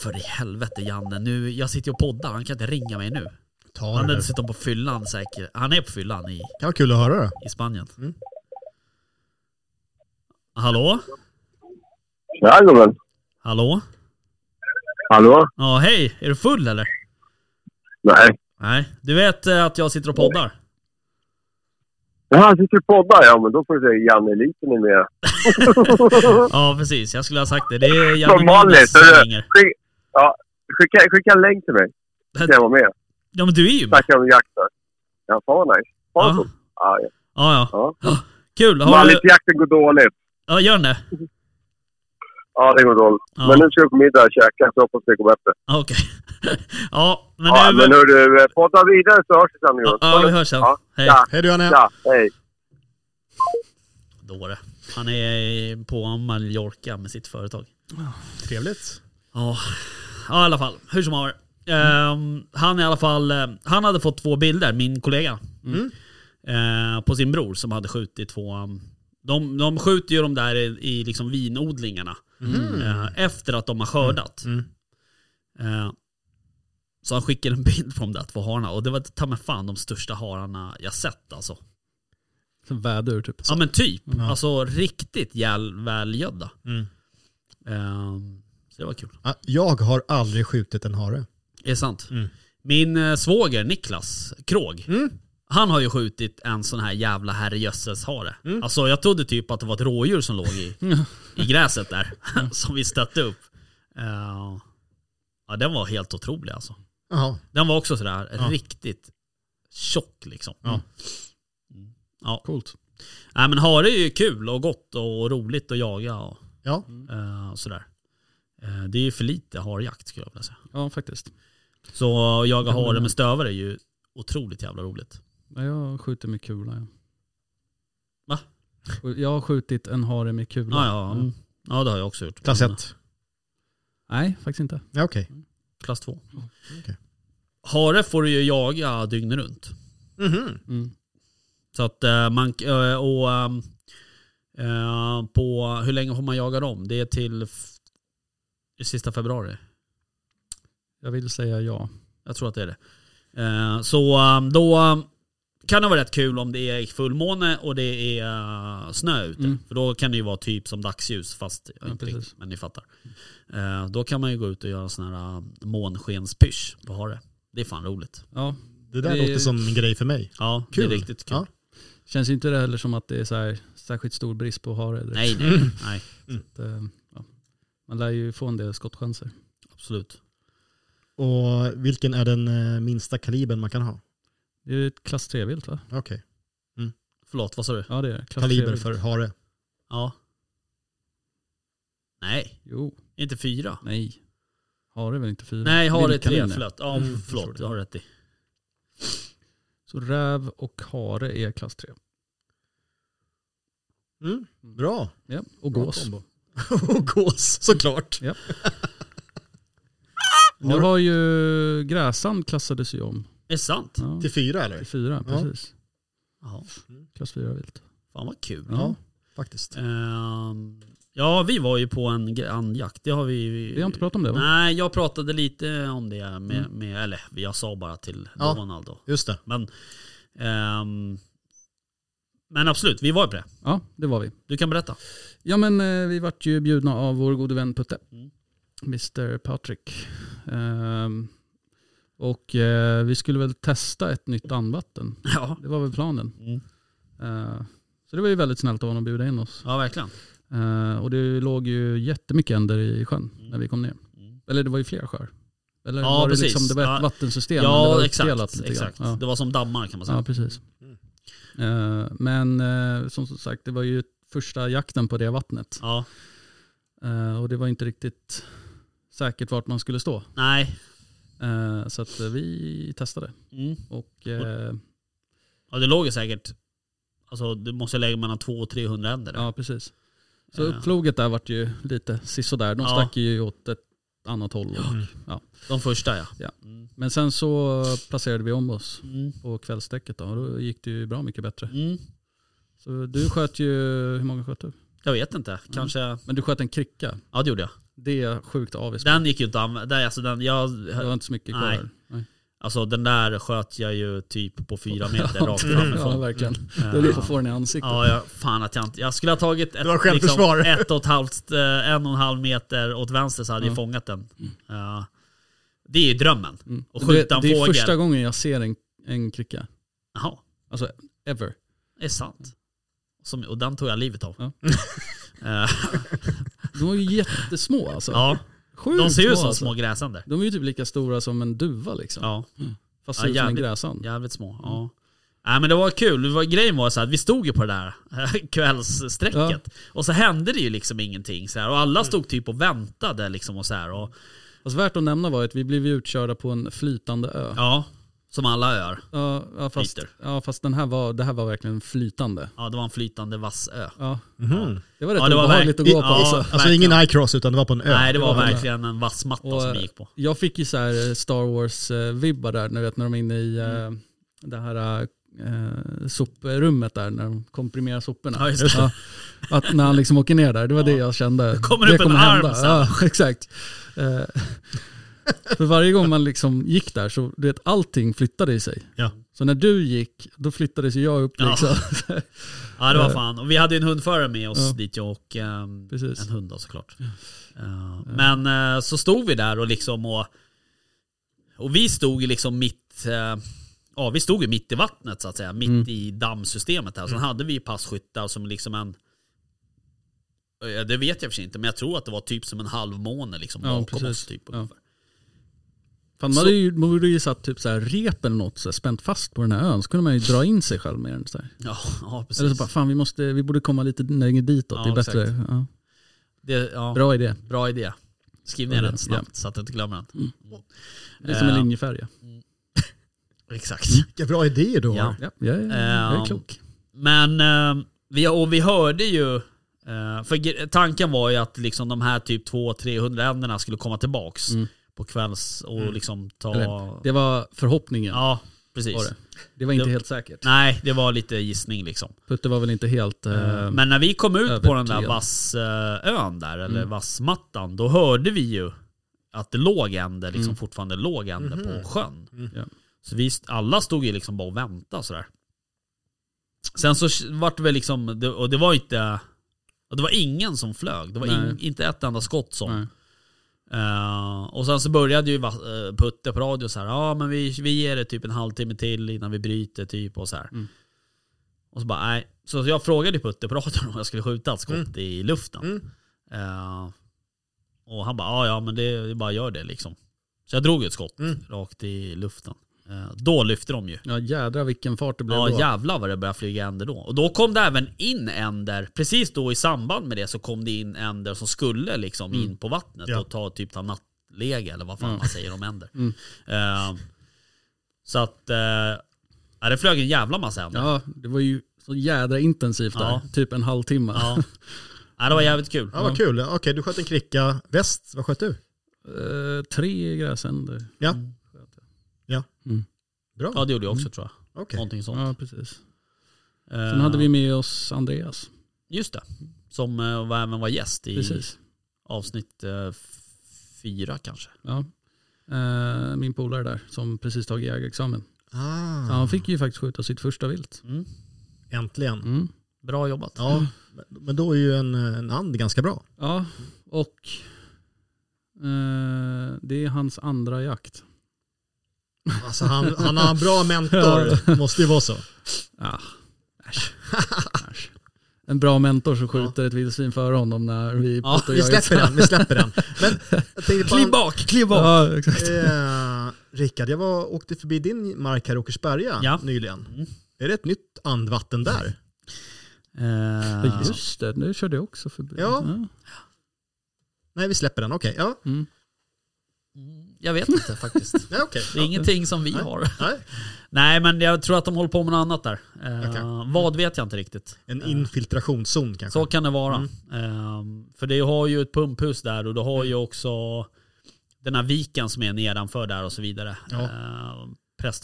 S3: För i helvete Janne, nu, jag sitter ju och poddar, han kan inte ringa mig nu.
S5: Ta
S3: Han
S5: den
S3: är
S5: nu.
S3: dessutom på fyllan säkert. Han är på fyllan i,
S4: Mm.
S5: kan vara kul att höra det.
S3: i Spanien.
S5: Mm.
S3: Hallå?
S6: Ja, gubben.
S3: Hallå?
S6: Hallå?
S3: Ja, hej. Är du full eller?
S6: Nej.
S3: Nej. Du vet eh, att jag sitter och poddar?
S6: Det här sitter och poddar, ja men då får du säga Janne Liten är med.
S3: Ja, precis. Jag skulle ha sagt det. Det är
S6: Som
S3: Janne
S6: vanligt.
S3: Magnus
S6: så
S3: som
S6: är
S3: ringer.
S6: det- skick- Ja, skicka, skicka en länk till mig. Ska jag vara med.
S3: Ja, men du är ju med.
S6: Snacka om jakt där. Ja, fan vad nice. Fan
S3: Ja.
S6: så. Ja, ja.
S3: Ja, ja.
S6: ja.
S3: Kul. Har du...
S6: Mallisjakten går dåligt.
S3: Ja, gör den det?
S6: Ja, det går dåligt.
S3: Ja.
S6: Men nu ska jag på middag och käka, så hoppas det går bättre.
S3: Ja, Okej. Ja, men
S6: ja,
S3: nu...
S6: men hörru, eh, podda vidare så hörs vi sen.
S3: Ja,
S6: gubben.
S3: ja, vi hörs sen.
S6: Ja,
S3: Hej.
S6: ja,
S5: Hej du Janne.
S6: ja, hej.
S3: Dåre. Han är på Mallorca med sitt företag.
S5: Trevligt.
S3: Ja, ja i alla fall. Hur som haver. Ehm, han i alla fall, eh, han hade fått två bilder, min kollega.
S5: Mm.
S3: Eh, på sin bror som hade skjutit två... um, De, de skjuter ju de där i, i liksom vinodlingarna. Eh, efter att de har skördat.
S5: Mm.
S3: Eh, så han skickade en bild på de där två hararna. Och det var ta mig fan de största hararna jag sett alltså.
S4: Som vädur typ.
S3: Ja men typ. Alltså riktigt jäl, välgödda.
S5: Mm.
S3: Ehm, så det var kul.
S5: Ja, Ah, Jag har aldrig skjutit en hare.
S3: Det är sant.
S5: Mm.
S3: Min eh, svåger Niklas Kråg, han har ju skjutit en sån här jävla herrejösses-hare.
S5: Mm.
S3: Alltså jag trodde typ att det var ett rådjur som låg i, i gräset där, som vi stötte upp. Eh, ja den var helt otrolig alltså.
S5: Jaha.
S3: Den var också sådär
S5: Ja.
S3: riktigt tjock liksom.
S5: Ja.
S3: Mm. Ja.
S4: Coolt.
S3: Nej men hare är ju kul och gott och roligt att jaga och
S5: Ja.
S3: eh, och sådär. Eh, det är ju för lite harjakt skulle jag vilja säga.
S4: Ja faktiskt.
S3: Så att jaga
S4: Jag håller
S3: hare
S4: med.
S3: med stövare är ju otroligt jävla roligt.
S4: Ja, jag skjuter med kula. Ja.
S3: Va?
S4: Skj- Jag har skjutit en hare med kula.
S3: Ja, ja, mm. ja det har jag också gjort.
S5: Klass
S3: Men,
S5: 1.
S4: Nej, faktiskt inte.
S5: Ja, Okej.
S3: Klass 2.
S5: Okej.
S3: Hare får du ju jaga dygnet runt. Mm-hmm.
S5: Mhm.
S4: Mm.
S3: Så att eh, man, eh, och ehm, eh, på, hur länge får man jaga dem? Det är till f- sista februari.
S4: Jag vill säga ja.
S3: Jag tror att det är det. Eh, Så ehm, då ehm, kan det vara rätt kul om det är fullmåne och det är eh, snö ute.
S4: Mm.
S3: För då kan det ju vara typ som dagsljus fast ja,
S4: Ja,
S3: inte
S4: precis.
S3: riktigt, men ni fattar. Eh, Då kan man ju gå ut och göra en sån här eh, månskenspysch på hare. Det är fan roligt.
S4: Ja.
S5: Det där
S4: Det-
S5: låter som en grej för mig.
S3: Ja,
S5: Kul.
S3: det är riktigt kul.
S5: Ja.
S4: Känns ju inte det heller som att det är så här, särskilt stor brist på hare. direkt.
S3: Nej, nej, nej.
S4: Att, eh, ja. Man lär ju få en del skottchanser.
S3: Absolut.
S5: Och vilken är den eh, minsta kalibern man kan ha?
S4: Det är ju ett klass 3-vilt va?
S5: Okej.
S3: Förlåt, vad sa du?
S4: Ja det är det. Klass
S5: Kaliber
S4: 3-vilt.
S5: för hare.
S3: Ja. Nej,
S4: Jo,
S3: inte fyra.
S4: nej. Hare är väl inte fyra?
S3: Nej, hare är tre.
S4: Vildkanin är.
S3: Förlåt. Ja,
S5: Mm,
S3: förlåt. Du har rätt i.
S4: Så räv och hare är klass 3.
S5: Mm. Bra.
S4: Ja. Och
S5: Bra
S4: gås.
S5: kombo. Och gås, såklart.
S4: Nu har ju gräsand klassades ju om.
S3: Är det sant?
S4: Ja,
S5: Till fyra
S4: till
S5: eller?
S4: fyra,
S5: Ja.
S4: precis.
S3: Ja.
S4: Klass 4 vilt.
S3: Fan vad kul.
S5: Ja, faktiskt.
S3: Ehm, ja, vi var ju på en grannjakt. Det har vi...
S4: Vi har inte pratat om det Mm. va?
S3: Nej, jag pratade lite om det med, med eller jag sa bara till
S5: Ja.
S3: Donald då.
S5: Just det.
S3: Men, ehm, men absolut, vi var på det.
S4: Ja, det var vi.
S3: Du kan berätta.
S4: Ja men eh, vi vart ju bjudna av vår gode vän Putte.
S3: Mm.
S4: Mr Patrick. Ehm, och eh, vi skulle väl testa ett nytt andvatten.
S3: Ja,
S4: Det var väl planen.
S3: Mm.
S4: Eh, så det var ju väldigt snällt av honom att bjuda in oss.
S3: ja verkligen.
S4: Eh, och det låg ju jättemycket änder i sjön när vi kom ner.
S3: Mm.
S4: Eller det var ju flera sjöar. Eller
S3: Ja,
S4: var det,
S3: precis.
S4: liksom, det var ett
S3: Ja.
S4: vattensystem. men det
S3: Ja,
S4: var
S3: exakt.
S4: lite grann.
S3: exakt. Det var Mm. som dammar kan man
S4: Ja,
S3: säga.
S4: ja precis. Eh, men eh, som sagt, det var ju första jakten på det vattnet.
S3: Ja.
S4: Eh, och det var inte riktigt säkert vart man skulle stå.
S3: Nej.
S4: Eh, så att eh, vi testade.
S3: Mm.
S4: Och eh,
S3: Ja, det låg ju säkert, alltså det måste lägga mellan 200 och 300 änder. där.
S4: ja, precis. Så
S3: Ja.
S4: uppfloget där vart ju lite sisådär. De
S3: Ja. Mm.
S4: stack ju åt ett annat håll. Och, ja.
S3: De första ja.
S4: Ja.
S3: Mm.
S4: Men sen så placerade vi om oss
S3: Mm.
S4: på kvällstäcket då. Och då gick det ju bra mycket bättre.
S3: Mm.
S4: Så du sköt ju, hur många sköt du?
S3: Jag vet inte,
S4: Mm.
S3: kanske,
S4: Men du sköt en kricka.
S3: ja det gjorde jag.
S4: Det är jag sjukt avis på.
S3: Den gick ju inte att använda. Alltså den, jag,
S4: Det var inte så mycket kvar.
S3: Nej.
S4: Nej.
S3: Alltså den där sköt jag ju typ på fyra meter rakt
S4: Ja,
S3: framifrån.
S4: verkligen.
S3: Mm. Ja.
S4: Det är lite får den i ansiktet.
S3: Ja, jag, fan att jag inte... Jag skulle ha tagit ett, liksom
S5: Det var självförsvar.
S3: ett och ett halvt, eh, en och en halv meter åt vänster så hade jag fångat den. Ja. det är ju drömmen.
S4: Mm.
S3: Och
S4: Det,
S3: skjuta en
S4: det är
S3: fågel.
S4: första gången jag ser en, en krycka.
S3: Jaha,
S4: Alltså ever.
S3: det är sant. Som, och den tog jag livet av.
S4: Ja.
S3: Eh,
S4: De var ju jättesmå alltså.
S3: ja,
S4: Sjukt
S3: de ser ju ut som
S4: alltså.
S3: små gräsänder.
S4: De är ju typ lika stora som en duva liksom.
S3: Ja,
S4: Fast
S3: Ja,
S4: ser ut som en
S3: jävligt.
S4: gräsand.
S3: jävligt små. Ja. Nej men det var kul. Det var, grejen var så här att vi stod ju på det där kvällssträcket.
S4: Ja.
S3: Och så hände det ju liksom ingenting. Så här. Och alla stod typ och väntade liksom och så här. Och,
S4: Fast värt att nämna var att vi blev ju utkörda på en flytande ö.
S3: ja, som alla gör.
S4: Ja, ja, fast,
S3: Flyter.
S4: ja, fast den här var, det här var verkligen flytande.
S3: Ja, det var en flytande vassö.
S4: Ja.
S5: Mhm.
S4: Det var rätt
S3: Ja, det var
S4: obehagligt att
S3: verk-
S4: gå på
S3: ja,
S4: alltså.
S5: Alltså
S3: verkligen.
S5: ingen iCross utan det var på en ö.
S3: Nej, det var
S4: det var-
S3: verkligen en vassmatta
S4: Och, eh,
S3: som vi gick på.
S4: Jag fick ju så här eh, Star Wars-vibbar där, när, du vet, när de är inne i
S3: Mm.
S4: eh, det här eh, soprummet där, när de komprimerar soporna.
S3: Ja, just det.
S4: Ja, att när han liksom åker ner där, det var det jag kände. Det
S3: kommer upp en arm sen.
S4: Ja, exakt. Eh, för varje gång man liksom gick där så, du vet, allting flyttade i sig.
S5: Ja.
S4: Så när du gick, då flyttades ju jag upp
S3: Ja.
S4: liksom.
S3: Ja det var
S4: Eh.
S3: fan. Och vi hade ju en hundförare med oss
S4: Ja.
S3: dit jag och ehm,
S4: Precis.
S3: en hund då såklart. Eh, men eh, så stod vi där och liksom och, och vi stod ju liksom mitt, eh, ja vi stod ju mitt i vattnet så att säga. Mitt
S4: Mm.
S3: i dammsystemet här. Sen hade vi ju passkyttar som liksom en eh, det vet jag för sig inte, men jag tror att det var typ som en halvmåne liksom
S4: Ja,
S3: bakom
S4: precis.
S3: oss. Typ,
S4: Ja.
S3: ungefär.
S4: Fan, man, hade ju, man borde ju satt typ så här rep eller något så här, spänt fast på den här ön. Så kunde man ju dra in sig själv med den. Så här.
S3: ja, ja precis.
S4: Eller så bara, fan vi, måste, vi borde komma lite längre ditåt,
S3: Ja,
S4: det är bättre.
S3: exakt.
S4: Ja.
S3: det, ja, bra.
S4: Bra idé.
S3: bra idé. Skriv ner
S4: Bra
S3: den
S4: idé,
S3: snabbt så att du inte glömmer den.
S4: Mm. Det är som en
S3: Eh,
S4: linjefärja.
S3: Exakt.
S4: Mm.
S5: Vilka bra idéer du har.
S3: Ja.
S4: Ja, jag, är, jag är
S3: Ehm,
S4: klok.
S3: Men, eh, vi, och vi hörde ju, eh, för gre- tanken var ju att liksom de här typ 200-300 änderna skulle komma tillbaks på kvälls och liksom ta...
S4: Mm. Eller, Det var förhoppningen.
S3: ja, precis.
S4: Var det. det var inte
S3: Det-
S4: helt säkert.
S3: Nej, det var lite gissning liksom.
S4: Putte var väl inte helt... eh,
S3: Men när vi kom ut på den där
S4: övertygad. Mm.
S3: vassön där, eller vassmattan, då hörde vi ju att det låg änder, liksom fortfarande låg änder på sjön.
S4: Mm. Ja.
S3: Så vi, st- alla stod ju liksom bara och väntade sådär. Sen så sh- vart det väl liksom, det- och det var inte, och det var ingen som flög. Det var in,
S4: Nej.
S3: inte ett enda skott som.
S4: nej.
S3: Eh, och sen så började ju va- eh, Putte på radio så här, ja men vi, vi ger det typ en halvtimme till innan vi bryter typ och så här.
S4: Mm.
S3: Och så bara nej. Så jag frågade ju Putte på radion om jag skulle skjuta ett skott i luften.
S5: Mm.
S3: Eh, och han bara, ja ja men det, det bara gör det liksom. Så jag drog ju ett skott
S5: Mm.
S3: rakt i luften. Eh, då lyfte de ju.
S4: Ja jädrar vilken fart det blev
S3: Ja
S4: då.
S3: jävlar vad det började flyga änder då. Och då kom det även in änder, precis då i samband med det så kom det in änder som skulle liksom in på vattnet
S5: Ja.
S3: och ta typ ta nattläge eller vad fan
S4: Ja.
S3: man säger om änder.
S4: Mm.
S3: Eh, så att, eh, ja, det flög en jävla massa änder. Ja.
S4: Ja, det var ju så jädra intensivt där.
S3: Ja.
S4: Typ en halvtimme.
S3: Ja. det var jävligt kul.
S5: Ja, vad kul. Okej, du sköt en kricka. Väst, vad sköt du?
S4: Eh, tre gräsänder.
S5: Ja, bra.
S3: Mm. Ja det gjorde jag också tror jag.
S5: Okej.
S3: Någonting sånt.
S4: Ja, precis.
S3: Eh,
S4: Sen hade vi med oss Andreas.
S3: Just det. Som eh, var, även var gäst i
S4: Precis.
S3: avsnitt eh, f- fyra kanske.
S4: Ja. Eh, min polare där som precis tagit jägarexamen.
S5: Ah, Mm.
S4: Så han fick ju faktiskt skjuta sitt första vilt.
S5: Äntligen.
S4: Mm.
S3: Bra jobbat.
S5: Ja, men- men då är ju en, en and ganska bra.
S4: Ja, och eh, det är hans andra jakt.
S5: Alltså han, han har en bra mentor, måste ju vara så.
S4: Ah, äsch. äsch. En bra mentor som skjuter ett vildsvin före honom när vi är
S3: Ja,
S4: ute och
S5: Vi
S4: jagar.
S5: släpper den, vi släpper den. Men jag tänkte på
S3: Kliv
S5: en,
S3: bak, kliv bak.
S4: Ja, exakt.
S5: eh, Rickard, jag var, åkte förbi din mark här i Åkersberga
S3: Ja.
S5: nyligen.
S3: Mm.
S5: Är det ett nytt andvatten där?
S3: Ehm,
S4: Ja, Just det, nu körde jag också förbi.
S5: Ja. Nej, vi släpper den. Okej, ja.
S4: Mm.
S3: Jag vet inte faktiskt.
S5: Nej, okej.
S3: Det är ingenting som vi
S5: Nej.
S3: har.
S5: Nej.
S3: Nej men jag tror att de håller på med något annat där. Eh,
S5: Okej.
S3: Vad vet jag inte riktigt.
S5: En infiltrationszon kanske.
S3: Så kan det vara.
S5: Mm.
S3: Eh, för det har ju ett pumphus där och du har ju också den här viken som är nedanför där och så vidare.
S5: Ja.
S3: Eh,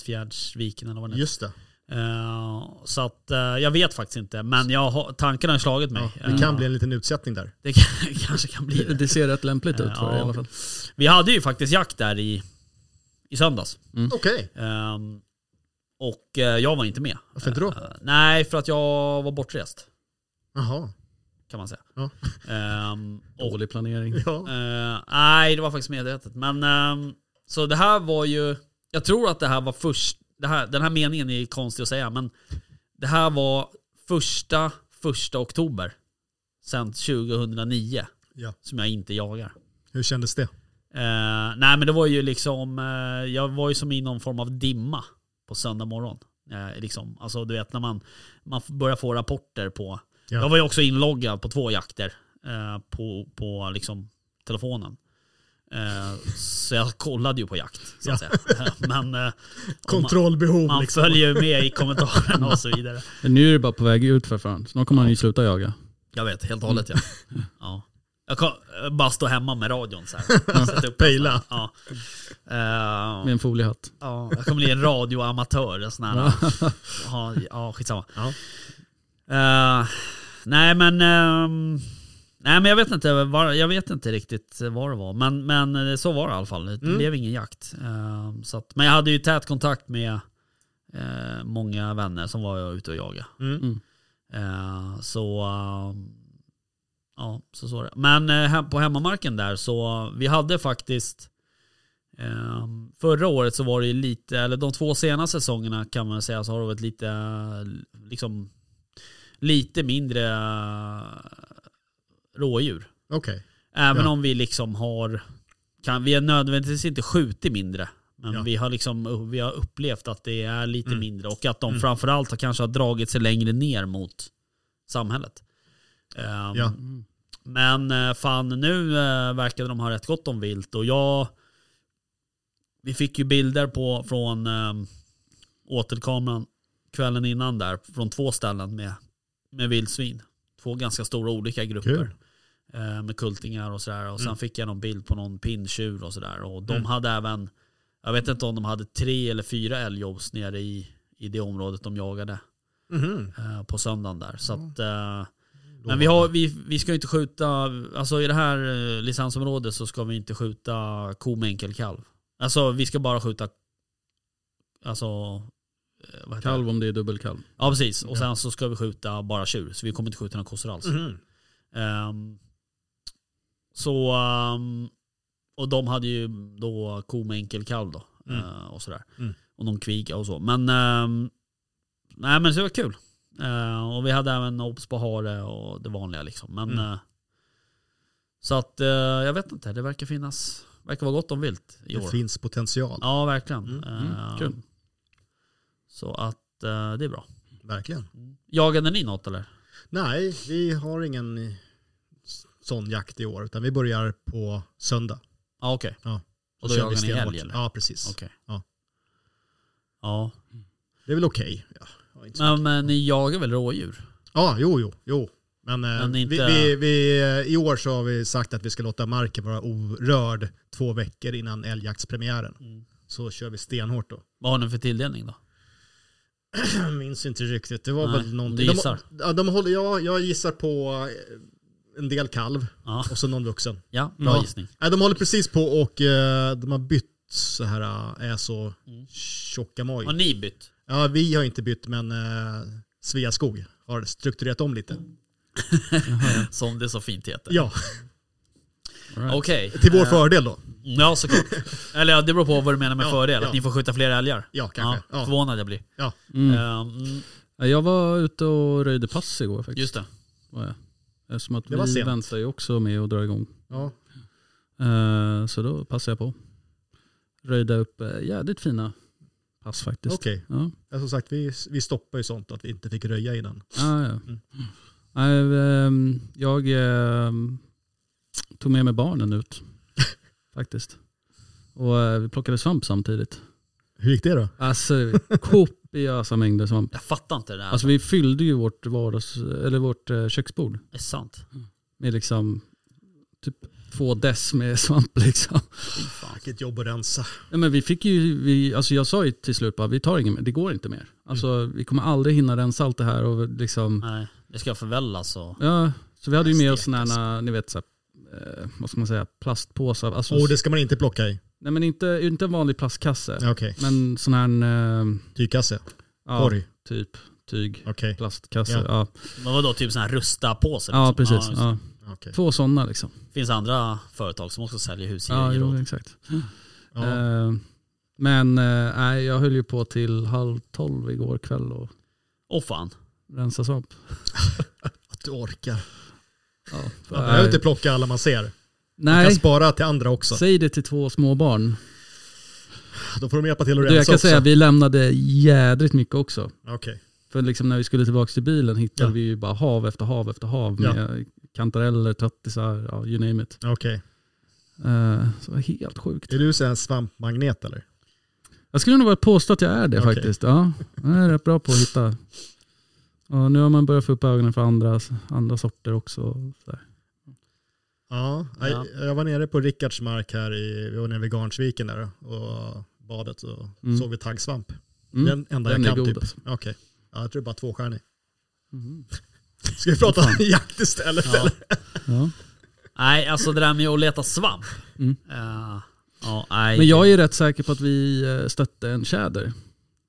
S3: Prästfjärdsviken eller vad den heter.
S5: Just det.
S3: Eh, så att eh, jag vet faktiskt inte. Men jag har, tanken har slagit mig.
S5: Ja, det
S3: Eh,
S5: kan bli en liten utsättning där.
S3: det kan- kanske kan bli det.
S4: Det ser rätt lämpligt ut för det i
S3: Ja.
S4: alla fall.
S3: Vi hade ju faktiskt jakt där i, i söndags.
S5: Okej,
S3: Ehm, och eh, jag var inte med.
S5: varför inte då?
S3: Eh, nej, för att jag var bortrest
S5: Jaha.
S3: kan man säga.
S5: Ja.
S3: Ehm, och,
S4: Dålig planering.
S5: Ja.
S3: eh, nej, det var faktiskt medvetet. Men ehm, så det här var ju, jag tror att det här var först, det här, den här meningen är konstig att säga, men det här var första, första oktober sedan 2009
S5: Ja.
S3: som jag inte jagar.
S5: Hur kändes det?
S3: Eh, nej men det var ju liksom, eh, jag var ju som i någon form av dimma på söndag morgon. Eh, liksom, alltså du vet när man, man börjar få rapporter på,
S5: Ja.
S3: jag var ju också inloggad på två jakter eh, på, på liksom telefonen. Eh, så jag kollade ju på jakt så att säga. men eh, om man,
S5: Kontrollbehov
S3: man
S5: liksom.
S3: följer ju med i kommentarerna och så vidare.
S4: Nu är det bara på väg ut för fan. Snart kommer han ju sluta jaga.
S3: Jag vet, helt och hållet ja. ja. Jag kan eh, bara stå hemma med radion så här. Sätta upp Pejla. Ja. Eh,
S4: Med en foliehatt.
S3: Ja, jag kommer bli en radioamatör. En sån här, ja, ja, skitsamma.
S5: Ja.
S3: Eh, nej, men, ehm, nej men jag vet inte, var, jag vet inte riktigt vad det var. Men, men eh, så var det i alla fall. Det
S5: Mm.
S3: blev ingen jakt. Eh, så att, men jag hade ju tät kontakt med eh, många vänner som var ute och jagade.
S5: Mm.
S4: Mm.
S3: Eh, så ehm, ja, så så var det. Men eh, hem- på hemmamarken där så vi hade faktiskt ehm, förra året så var det ju lite, eller de två senaste säsongerna kan man säga så har det varit lite, eh, liksom lite mindre eh, rådjur.
S5: Okej.
S3: Även
S5: Ja.
S3: om vi liksom har, kan, vi är nödvändigtvis inte skjutit mindre. Men
S5: Ja.
S3: vi, har liksom, vi har upplevt att det är lite
S5: Mm.
S3: mindre och att de
S5: Mm.
S3: framförallt har kanske har dragit sig längre ner mot samhället. Ehm,
S5: Ja.
S3: Men eh, fan nu eh, verkade de ha rätt gott om vilt och jag Vi fick ju bilder på, från eh, åtelkameran kvällen innan där från två ställen med, med vildsvin. Två ganska stora olika grupper
S5: Kul.
S3: eh, med kultingar och sådär. Och sen
S5: Mm.
S3: fick jag någon bild på någon pinntjur och sådär. Och de
S5: Mm.
S3: hade även, jag vet inte om de hade tre eller fyra älgjobs nere i, i det området de jagade
S5: Mhm.
S3: eh, på söndagen där. Så att, eh, men vi, har, vi, vi ska ju inte skjuta, alltså i det här eh, licensområdet så ska vi inte skjuta ko med enkelkalv. Alltså vi ska bara skjuta, alltså eh, vad heter det?
S4: Kalv om det är dubbelkalv.
S3: Ja precis, och sen så ska vi skjuta bara tjur. Så vi kommer inte skjuta några kossor alls.
S5: Mhm.
S3: Ehm, så, ehm, och de hade ju då ko med enkelkalv då.
S5: Mm.
S3: eh, och sådär.
S5: Mm.
S3: Och någon kviga och så. Men, ehm, nej men så det var kul. Eh, och vi hade även obs på hare och det vanliga liksom. Men,
S5: Mm.
S3: eh, så att eh, jag vet inte, det verkar finnas, verkar vara gott om vilt i år.
S5: Det finns potential.
S3: Ja verkligen.
S5: Mm.
S4: Mm,
S3: Ehm,
S4: kul.
S3: Så att eh, det är bra.
S5: Verkligen.
S3: Jagade ni något eller?
S5: Nej, vi har ingen i- s- sån jakt i år, utan vi börjar på söndag.
S3: Ja ah, okej.
S5: Ja.
S3: Och
S5: Så
S3: då
S5: kör vi
S3: jagar ni
S5: stenhårt.
S3: helg eller?
S5: Ja, precis.
S3: Okej.
S5: Ja.
S3: Ja.
S5: Det är väl okej. Ja, jag har inte så-
S3: Men, men ni jagar väl rådjur?
S5: ja, jo, jo, jo. Men, eh,
S3: Men inte-
S5: vi, vi, vi, eh, i år så har vi sagt att vi ska låta marken vara orörd två veckor innan älgjaktspremiären.
S3: Mm.
S5: Så kör vi stenhårt då.
S3: Vad har ni för tilldelning då?
S5: Jag minns inte riktigt. Det var
S3: Nej,
S5: väl någonting.
S3: Mm. du gissar.
S5: De, ja, de håller, jag, jag gissar på eh, en del kalv
S3: Ja,
S5: och så någon vuxen.
S3: ja bra
S5: Mm. Ja.
S3: gissning.
S5: Nej, de håller precis på och eh, de har bytt så här, eh, är så tjocka moj.
S3: Har ni bytt?
S5: Ja, vi har inte bytt men eh, Sveaskog har strukturerat om lite.
S3: Som det så fint heter.
S5: Ja,
S4: All right.
S3: Okej.
S5: till vår
S3: Eh,
S5: fördel då.
S3: Ja såklart. Eller ja, det beror på vad du menar med
S5: Ja,
S3: fördel.
S5: ja.
S3: Att ni får skjuta fler älgar.
S5: Ja, kanske. Ja.
S3: Förvånad jag blir.
S4: Mm.
S3: Ehm,
S4: Ja, Jag var ute och röjde pass igår faktiskt.
S3: just det.
S4: Var jag. Eftersom att
S5: Det var
S4: vi
S5: sent.
S4: väntar ju också med att dra igång.
S5: Ja.
S4: Eh, så då passade jag på. Röjde upp eh, jävligt fina pass faktiskt.
S5: Okej,
S4: Ja.
S5: Ja, som sagt vi, vi stoppar ju sånt att vi inte fick röja innan.
S4: Ja, ja.
S5: Mm.
S4: Nej, ehm, jag ehm, tog med mig barnen ut faktiskt. Och eh, vi plockade svamp samtidigt.
S5: Hur gick det då?
S4: Alltså det var kopiösa mängder svamp.
S3: Jag fattar inte det här.
S4: Alltså vi fyllde ju vårt, vardags, eller vårt eh, köksbord
S3: det är sant.
S4: med liksom typ två dess med svamp liksom.
S3: Fy fan.
S5: Vilket jobb att rensa.
S4: Nej, men vi fick ju, vi, alltså jag sa ju till slut bara, vi tar inget mer, det går inte mer. Alltså vi kommer aldrig hinna rensa allt det här och liksom,
S3: Nej, det ska förvällas och...
S4: ja, så vi hade ju med oss
S5: Stekas.
S4: sådana här, ni vet så här, eh, vad ska man säga, plastpåsar. Alltså,
S5: Oh, Och det ska man inte plocka i.
S4: Nej men inte, inte en vanlig plastkasse.
S5: Okej, okay.
S4: Men sån här... en, eh,
S5: tygkasse.
S4: ja,
S5: Korg.
S4: typ. Tyg.
S5: Okej.
S4: Plastkasse.
S5: Ja.
S4: Ja, ja.
S3: Men vadå, typ sån här rusta-påse? liksom?
S4: precis.
S3: just det.
S4: Ja.
S5: Okej.
S4: Två sådana liksom.
S3: finns andra företag som också säljer
S4: Ja,
S3: husgrejer.
S4: jo,
S3: åt-
S4: exakt.
S5: Ja.
S4: Eh, men eh, nej, jag höll ju på till halv tolv igår kväll och
S3: Åh fan.
S4: rensa svamp.
S5: Att du orkar.
S4: Ja,
S5: Man behöver inte plocka alla man ser. Man kan
S4: Eh, nej,
S5: spara till andra också.
S4: säg det till två små barn.
S5: Då får de hjälpa till att
S4: Du,
S5: rensa
S4: jag kan
S5: också.
S4: säga vi lämnade jädrigt mycket också.
S5: Okej.
S4: För liksom när vi skulle tillbaka till bilen hittade
S5: Ja.
S4: vi ju bara hav efter hav efter hav
S5: Ja.
S4: med kantareller, trattisar, ja, you name it.
S5: Okej.
S4: Eh, så det var helt sjukt.
S5: Är du så här svampmagnet eller?
S4: Jag skulle nog bara påstå att jag är det
S5: Okej.
S4: faktiskt. Ja, jag är rätt bra på att hitta. Ja, nu har man börjat få upp ögonen för andra, andra sorter också. Så här.
S5: Ja,
S3: Ja.
S5: Jag, jag var nere på Rickards mark här i, vi var nere vid Garnsviken där och badet och
S4: Mm.
S5: såg vi taggsvamp.
S4: Mm.
S5: Den enda
S4: Den är
S5: jag kan
S4: god
S5: typ.
S4: alltså.
S5: Okej. Ja, jag tror bara tvåstjärnig.
S4: Mhm.
S5: Ska vi prata om jakt istället
S3: Ja.
S5: eller?
S4: Ja.
S3: Nej, alltså det där med att leta svamp.
S4: Mm.
S3: Eh, ja, nej.
S4: Men jag är ju rätt säker på att vi eh, stötte en tjäder.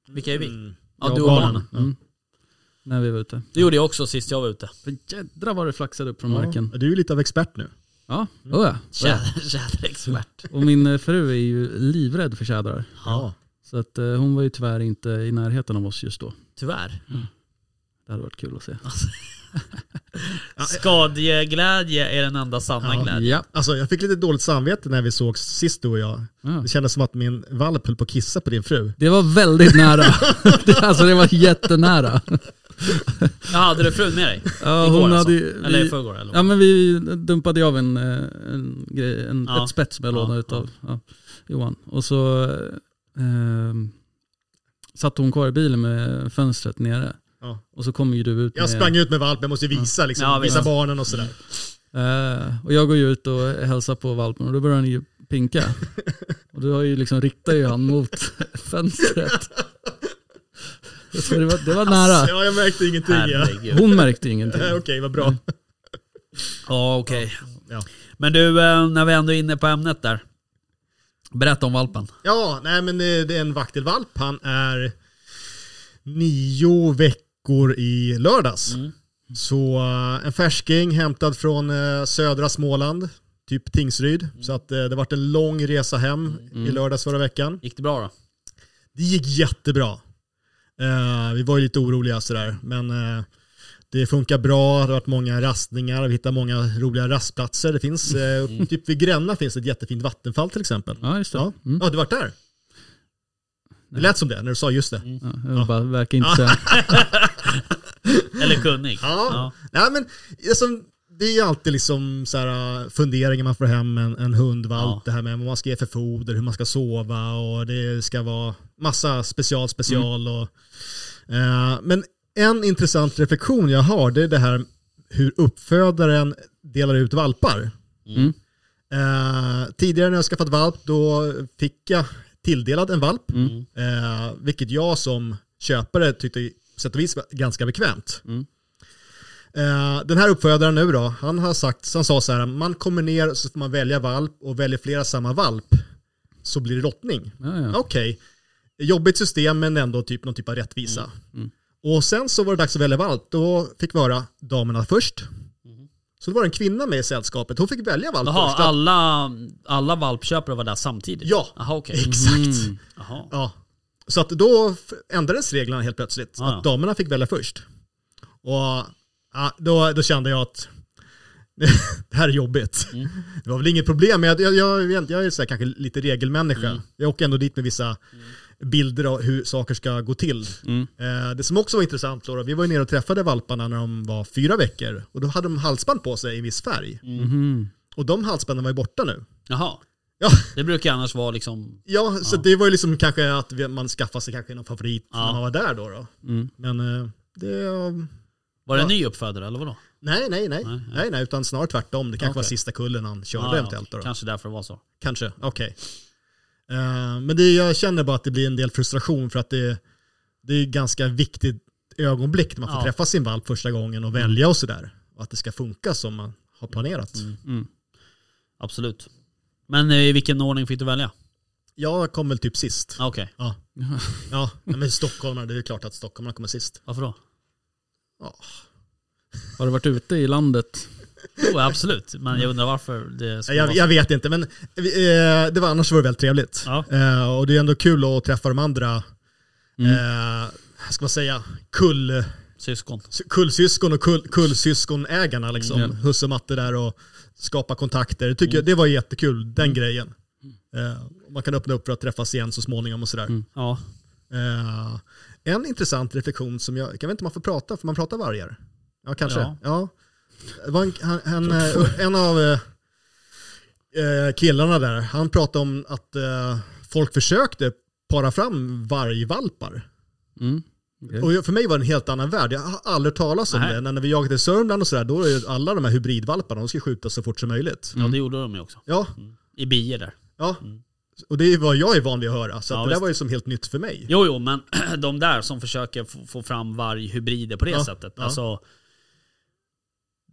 S3: Vilka är vi?
S5: Mm.
S3: Ja,
S4: Jag
S3: du och
S4: och
S3: barnen.
S5: barnen. Ja.
S4: Mm. När vi var ute.
S3: Det gjorde jag också sist jag var ute.
S4: För jädra vad det flaxade upp från marken.
S5: Ja, du är ju lite av expert nu.
S4: Ja,
S3: Mm.
S4: oh ja.
S3: Tjäder- Tjäderexpert.
S4: Och min eh, fru är ju livrädd för tjädrar.
S3: Ja,
S4: Så att eh, hon var ju tyvärr inte i närheten av oss just då.
S3: tyvärr.
S4: Det hade varit kul att se.
S3: Skadeglädje är den enda sanna
S5: Ja.
S3: glädjen.
S4: Ja.
S5: Alltså jag fick lite dåligt samvete när vi såg sist du och jag.
S4: Ja.
S5: Det kändes som att min valp höll på att kissa på din fru.
S4: Det var väldigt nära. Det- alltså det var jättenära.
S3: Ja, hade du frun med dig?
S4: Ja,
S3: Igår
S4: hon
S3: alltså.
S4: hade ju-
S3: Eller i
S4: vi-
S3: förrgår? Eller?
S4: Ja men vi dumpade ju av en, eh, en, grej, en
S3: Ja.
S4: ett spett som jag
S3: Ja,
S4: lånade utav ja, Johan. Och så eh, satt hon kvar i bilen med fönstret nere.
S5: Ja.
S4: Och så kommer ju du ut
S5: Jag
S4: med,
S5: sprang ut med valpen, jag måste ju visa, liksom,
S3: Ja, visst.
S5: visa barnen och sådär.
S4: Eh, och jag går ju ut och hälsar på valpen och då börjar han ju pinka. och du har ju liksom riktar ju han mot fönstret. Så det var, det var nära.
S5: Ja, jag märkte ingenting. Ja.
S3: Herregud.
S4: Hon märkte ju ingenting.
S5: Nej, Okej, vad bra.
S3: Ja, okej.
S5: Ja.
S3: Men du, eh, när vi ändå är inne på ämnet där. Berätta om valpen.
S5: Ja, nej men eh, det är en vaktelvalp. Han är nio veckor i lördags. Så eh, en färsking hämtad från eh, södra Småland, typ Tingsryd. Så att eh, det varit en lång resa hem i lördags förra veckan.
S3: Gick det bra då?
S5: Det gick jättebra. Eh, vi var ju lite oroliga sådär, men eh, det funkar bra. Det har varit många rastningar, vi hittar många roliga rastplatser. Det finns, eh, typ vid Gränna finns ett jättefint vattenfall till exempel.
S4: Ja just det.
S5: Ja,
S4: Mm.
S5: ja du var där? Det lät som det när du sa just det.
S4: Ja, jag bara verkar inte säga.
S3: Eller kunnig?
S5: Ja. Nej, men, alltså, det är ju alltid liksom så här, äh, funderingar man får hem en, en hundvalp.
S3: Ja.
S5: Det här med vad man ska ge för foder, hur man ska sova och det ska vara massa special special. Och, eh, men en intressant reflektion jag har det är det här hur uppfödaren delar ut valpar.
S4: Mm.
S5: Eh, tidigare när jag skaffat valp då fick jag tilldelad en valp. Eh, vilket jag som köpare tyckte på sätt och vis var ganska bekvämt.
S4: Mm.
S5: Eh, den här uppfödaren nu då, han, har sagt, han sa så här, man kommer ner och så får man välja valp och väljer flera samma valp så blir det
S3: Mm.
S5: lottning.
S4: Ja, ja.
S5: Okej, jobbigt system men ändå typ någon typ av rättvisa.
S3: Mm.
S5: Och sen så var det dags att välja valp, då fick vi höra damerna först. Så det var en kvinna med i sällskapet, hon fick välja valp
S3: Mm. Jaha,
S5: först. Att-
S3: alla, alla valpköpare var där samtidigt?
S5: Ja.
S3: Jaha, Ah, okej.
S5: Exakt.
S3: Jaha.
S5: Ja. Så att då f- ändrades reglerna helt plötsligt.
S3: Ah, ja.
S5: Att damerna fick välja först. Och ja, då, då kände jag att det här är jobbigt.
S3: Mm.
S5: Det var väl inget problem, men jag, jag, jag, vet inte, jag är så här, kanske lite regelmänniska.
S3: Mm.
S5: Jag åker ändå dit med vissa bilder av hur saker ska gå till.
S3: Mm.
S5: Eh, det som också var intressant, då, då, vi var ju nere och träffade valparna när de var fyra veckor och då hade de halsband på sig i en viss färg.
S3: Mm.
S4: Mhm.
S5: Och de halsbanden var ju borta nu.
S3: Jaha.
S5: Ja,
S3: Det brukar ju annars vara liksom...
S5: Ja, så det var ju liksom kanske att vi- man skaffade sig kanske någon favorit
S3: Ja.
S5: när man var där då. då.
S4: Mm.
S5: Men eh, det...
S3: Var det en
S5: Ja.
S3: ny uppfödare eller vadå?
S5: Nej, nej, nej.
S3: Nej,
S5: Nej,
S3: nej.
S5: nej. utan snarare tvärtom. Det kanske var
S3: Okej.
S5: sista kullen han körde
S3: Ah, ja,
S5: eventuellt. Då, då.
S3: Kanske därför det var så.
S5: Kanske, okej. Eh, men det, jag känner bara att det blir en del frustration för att det, det är ganska viktigt ögonblick när man får
S3: Ja. Mm.
S5: träffa sin valp första gången och välja och sådär. Och att det ska funka som man
S3: Mm.
S5: har planerat.
S3: Absolut. Men eh, i vilken ordning fick du välja?
S5: Jag kom väl typ sist.
S3: Ah, Okej,
S5: Ja. Ja, nej, men stockholmarna, det är ju klart att stockholmarna kommer sist.
S3: varför då?
S4: Har du varit ute i landet?
S3: Jo, absolut. Men jag undrar varför det
S5: Ja,
S3: skulle
S5: Jag,
S3: vara så.
S5: jag vet inte, men vi, eh, det var, annars var det väldigt trevligt.
S3: Ja.
S5: Eh, och det är ändå kul att träffa de andra,
S4: Mm.
S5: eh, ska man säga, kull,
S3: Syskon.
S5: kullsyskon och kull, kullsyskonägarna. Liksom.
S4: Mm.
S5: Husse och Matte där och skapa kontakter. Det, tycker jag, det var jättekul,
S4: Mm.
S5: den grejen. Eh, man kan öppna upp för att träffas igen så småningom och
S4: Mm.
S5: sådär.
S3: Ja.
S5: Eh, en intressant reflektion som jag, jag vet inte om man får prata, för man pratar vargar? Ja, kanske.
S3: Ja.
S5: Ja. Det var en, han, han, eh, en av eh, eh, killarna där, han pratade om att eh, folk försökte para fram vargvalpar.
S4: Mm. Okej.
S5: Och jag- för mig var det en helt annan värld. Jag har aldrig talat om
S3: Nej.
S5: det. När vi jagade i Sörmland och sådär, då är ju alla de här hybridvalparna, de ska skjutas så fort som möjligt.
S3: ja, det gjorde de ju också.
S5: Ja,
S3: I bier där.
S5: ja. Och det är vad jag är van vid att höra. Så
S3: Ja,
S5: att det
S3: visst.
S5: där var ju som helt nytt för mig.
S3: Jo, jo, men de där som försöker få- få fram varghybrider på det
S5: Ja,
S3: sättet.
S5: ja.
S3: Alltså,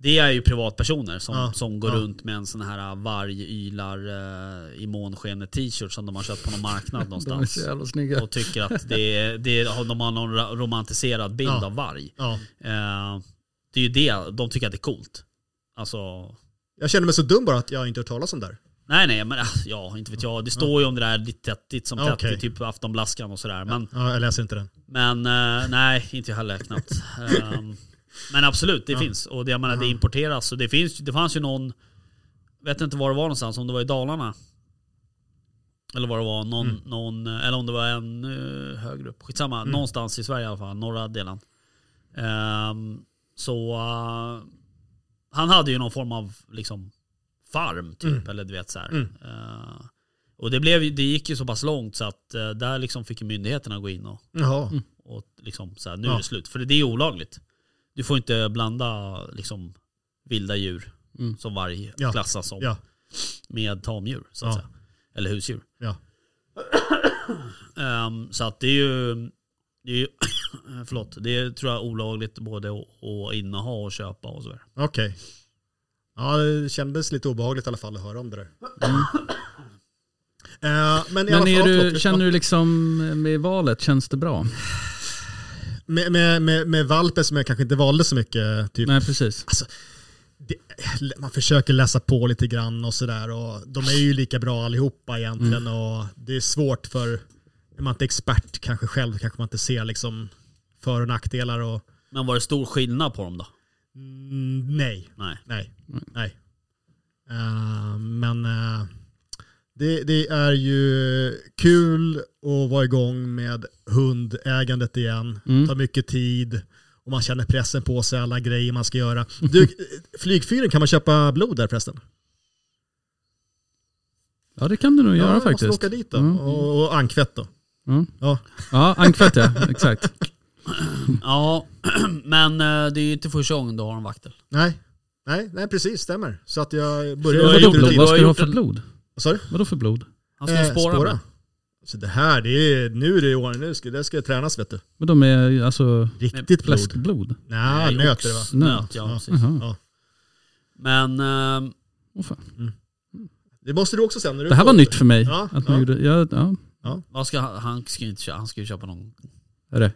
S3: det är ju privatpersoner som,
S5: Ja,
S3: som går
S5: ja.
S3: runt med en sån här vargylar eh, i månskenet t-shirt som de har köpt på någon marknad
S4: De är
S3: någonstans.
S4: så jävla snygga.
S3: och tycker att det är, det är, de har någon ra- romantiserad bild
S5: Ja.
S3: av varg.
S5: Ja.
S3: Eh, det är ju det, de tycker att det är coolt. Alltså,
S5: Jag känner mig så dum bara att jag inte hört talas om det där.
S3: nej nej, men ah, ja, inte vet jag. Det står ju om det där lite tättigt som
S5: Ja,
S3: tätt
S5: okej.
S3: i typ aftonblaskan och sådär. Men
S5: Ja, jag läser inte den.
S3: Men eh, nej, inte jag heller knappt. Ehm, men absolut, det finns. Och det, jag menar, det importeras. Och det, finns, det fanns ju någon, vet inte var det var någonstans, om det var i Dalarna. Eller var det var, någon, någon, eller om det var en eh, högre upp. Skitsamma, någonstans i Sverige i alla fall, norra delen. Ehm, så eh, han hade ju någon form av liksom farm typ, eller du vet så här. Eh, och det, blev, ju- det gick ju så pass långt så att eh, där liksom fick ju myndigheterna gå in och
S5: Jaha.
S3: och liksom så här, nu
S5: Ja.
S3: är det slut. För det är olagligt. Du får inte blanda liksom, vilda djur
S4: Mm.
S3: som varg
S5: Ja.
S3: klassas som
S5: Ja,
S3: med tamdjur. Så att
S5: Ja.
S3: säga. Eller husdjur.
S5: ja.
S3: Ehm, så att det är ju, det är ju förlåt, det är, tror jag olagligt både att- att inneha och köpa och så vidare.
S5: Okej. Ja, det kändes lite obehagligt i alla fall att höra om det där. Eh, Mm. men i
S4: Men
S5: alla
S4: är
S5: fall, ja,
S4: du,
S5: förlåt.
S4: känner du liksom med valet, känns det bra?
S5: med, med, med, med valpen som jag kanske inte valde så mycket, typ,
S4: Nej precis.
S5: det, man försöker läsa på lite grann och sådär. och De är ju lika bra allihopa egentligen och det är svårt för, är man inte expert kanske själv, kanske man inte ser liksom för och nackdelar och
S3: Men var det stor skillnad på dem då?
S5: mm, nej.
S3: Nej.
S5: Nej. Nej. Eh, men eh, det, det är ju kul att vara igång med hundägandet igen.
S4: Mm.
S5: Tar mycket tid och man känner pressen på sig, alla grejer man ska göra. Du, eh, flygfyren, kan man köpa blod där förresten?
S4: Ja det kan du nog göra
S5: jag måste
S4: faktiskt.
S5: åka dit då.
S4: Mm.
S5: Och, och ankfett då.
S4: Mm.
S5: Ja.
S4: Ja, ankfett ja, exakt.
S3: Ja, men eh, det är ju inte första gången du har en vaktel.
S5: Nej. Nej, nej, precis, stämmer. Så att
S3: Så
S5: jag
S3: du
S5: började
S3: har
S4: Vadå
S3: gjort en-
S5: lite
S4: blod?
S5: tid.
S4: Vad ska
S3: har
S4: du ha
S3: gjort
S4: för
S3: en-
S4: blod?
S5: Vad sa du?
S4: Vadå för blod?
S3: Han ska
S5: Eh,
S3: spåra, spåra.
S5: Så det här, det är, nu är det i ordning, nu ska, det ska tränas vet du.
S4: Vadå med alltså
S5: Riktigt blod.
S4: fläskblod?
S5: Nej, nöter det va?
S3: Nöt, ja,
S5: Ja. Mhm.
S3: precis.
S4: Jaha.
S3: Men eh,
S4: Åh, fan.
S5: Det måste du också säga när du
S4: Det här
S5: får
S4: var nytt för mig.
S5: Ja,
S4: Att man
S5: ja.
S4: gjorde, ja, ja.
S3: vad ska, han- han ska ju inte köpa, han ska ju köpa någon
S4: Är det?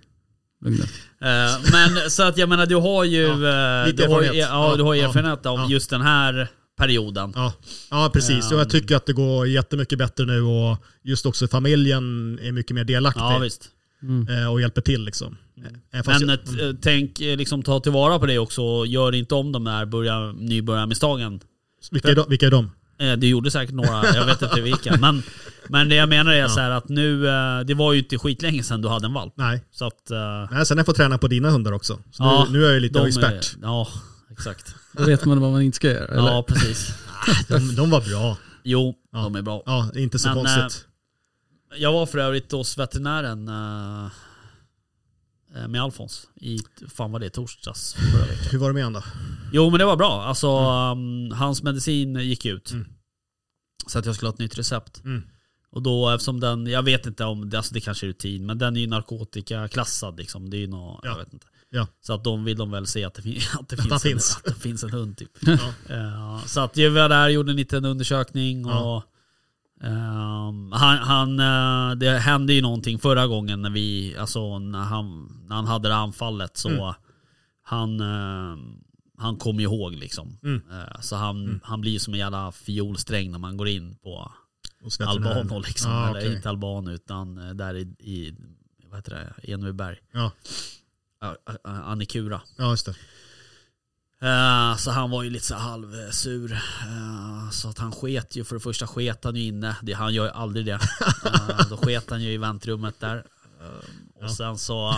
S4: Lugn dig.
S3: Eh, men så att jag menar du har ju, eh,
S5: lite
S3: du, har, ja,
S5: erfarenhet.
S3: ja, du har
S5: Ja,
S3: erfarenhet av
S5: ja.
S3: just den här perioden.
S5: Ja, ja precis. och jag tycker att det går jättemycket bättre nu och just också familjen är mycket mer delaktig
S3: Ja, visst.
S5: eh, och hjälper till liksom. Även fast
S3: Typ. Men
S5: jag, Mm.
S3: eh, t- tänk eh, liksom ta tillvara på det också. Gör inte om de där börja, nybörjarmisstagen.
S5: vilka, är de, vilka är de?
S3: Eh, Du gjorde säkert några, jag vet inte vilka. Men, men det jag menar är så här att nu, eh, det var ju inte skitlänge sedan du hade en valp.
S5: Nej.
S3: Så att... eh,
S5: Nej, sen har jag fått träna på dina hundar också. Så
S3: ja,
S5: nu, nu är jag ju lite
S3: de är-
S5: expert.
S3: Ja, exakt.
S4: Då vet man vad man inte ska göra, eller?
S3: Ja, precis.
S5: De, de var bra.
S3: Jo, de är bra.
S5: Ja, det är inte så
S3: Men, eh,
S5: konstigt.
S3: Jag var för övrigt hos veterinären eh, eh, med Alfons i, fan var det, torsdags förra veckan.
S5: Hur var det med han då?
S3: Jo men det var bra. Alltså um, hans medicin gick ut. Så att jag skulle ha ett nytt recept.
S5: Mm.
S3: Och då eftersom den, jag vet inte om, det- alltså det kanske är rutin, men den är ju narkotikaklassad liksom. Det är ju nå, jag
S5: Ja.
S3: vet inte.
S5: Ja.
S3: Så att de vill de väl se att det, fin- att det,
S5: Att
S3: finns,
S5: han
S3: en,
S5: finns.
S3: att det finns en hund typ. Eh, så att jag var där, gjorde en liten undersökning och Ehm, han, han, eh, det hände ju någonting förra gången när vi, alltså när han, när han hade det anfallet så
S5: Mm.
S3: han, eh, han kom ju ihåg liksom.
S5: Mm.
S3: Eh, så han, han blir ju som en jävla fiolsträng när man går in på
S5: Hos veterinären.
S3: Albano liksom.
S5: Ja,
S3: Eller
S5: okej.
S3: inte Albano utan eh, där i, i vad heter det, Enveberg.
S5: Ja,
S3: Ja, eh, eh, Annikura.
S5: ja just det.
S3: Eh, Så han var ju lite så här halvsur. Eh, Så att han sket ju, för det första sket han ju inne. Det, han gör ju aldrig det. Eh, Då sket han ju i väntrummet där. Eh, Och sen så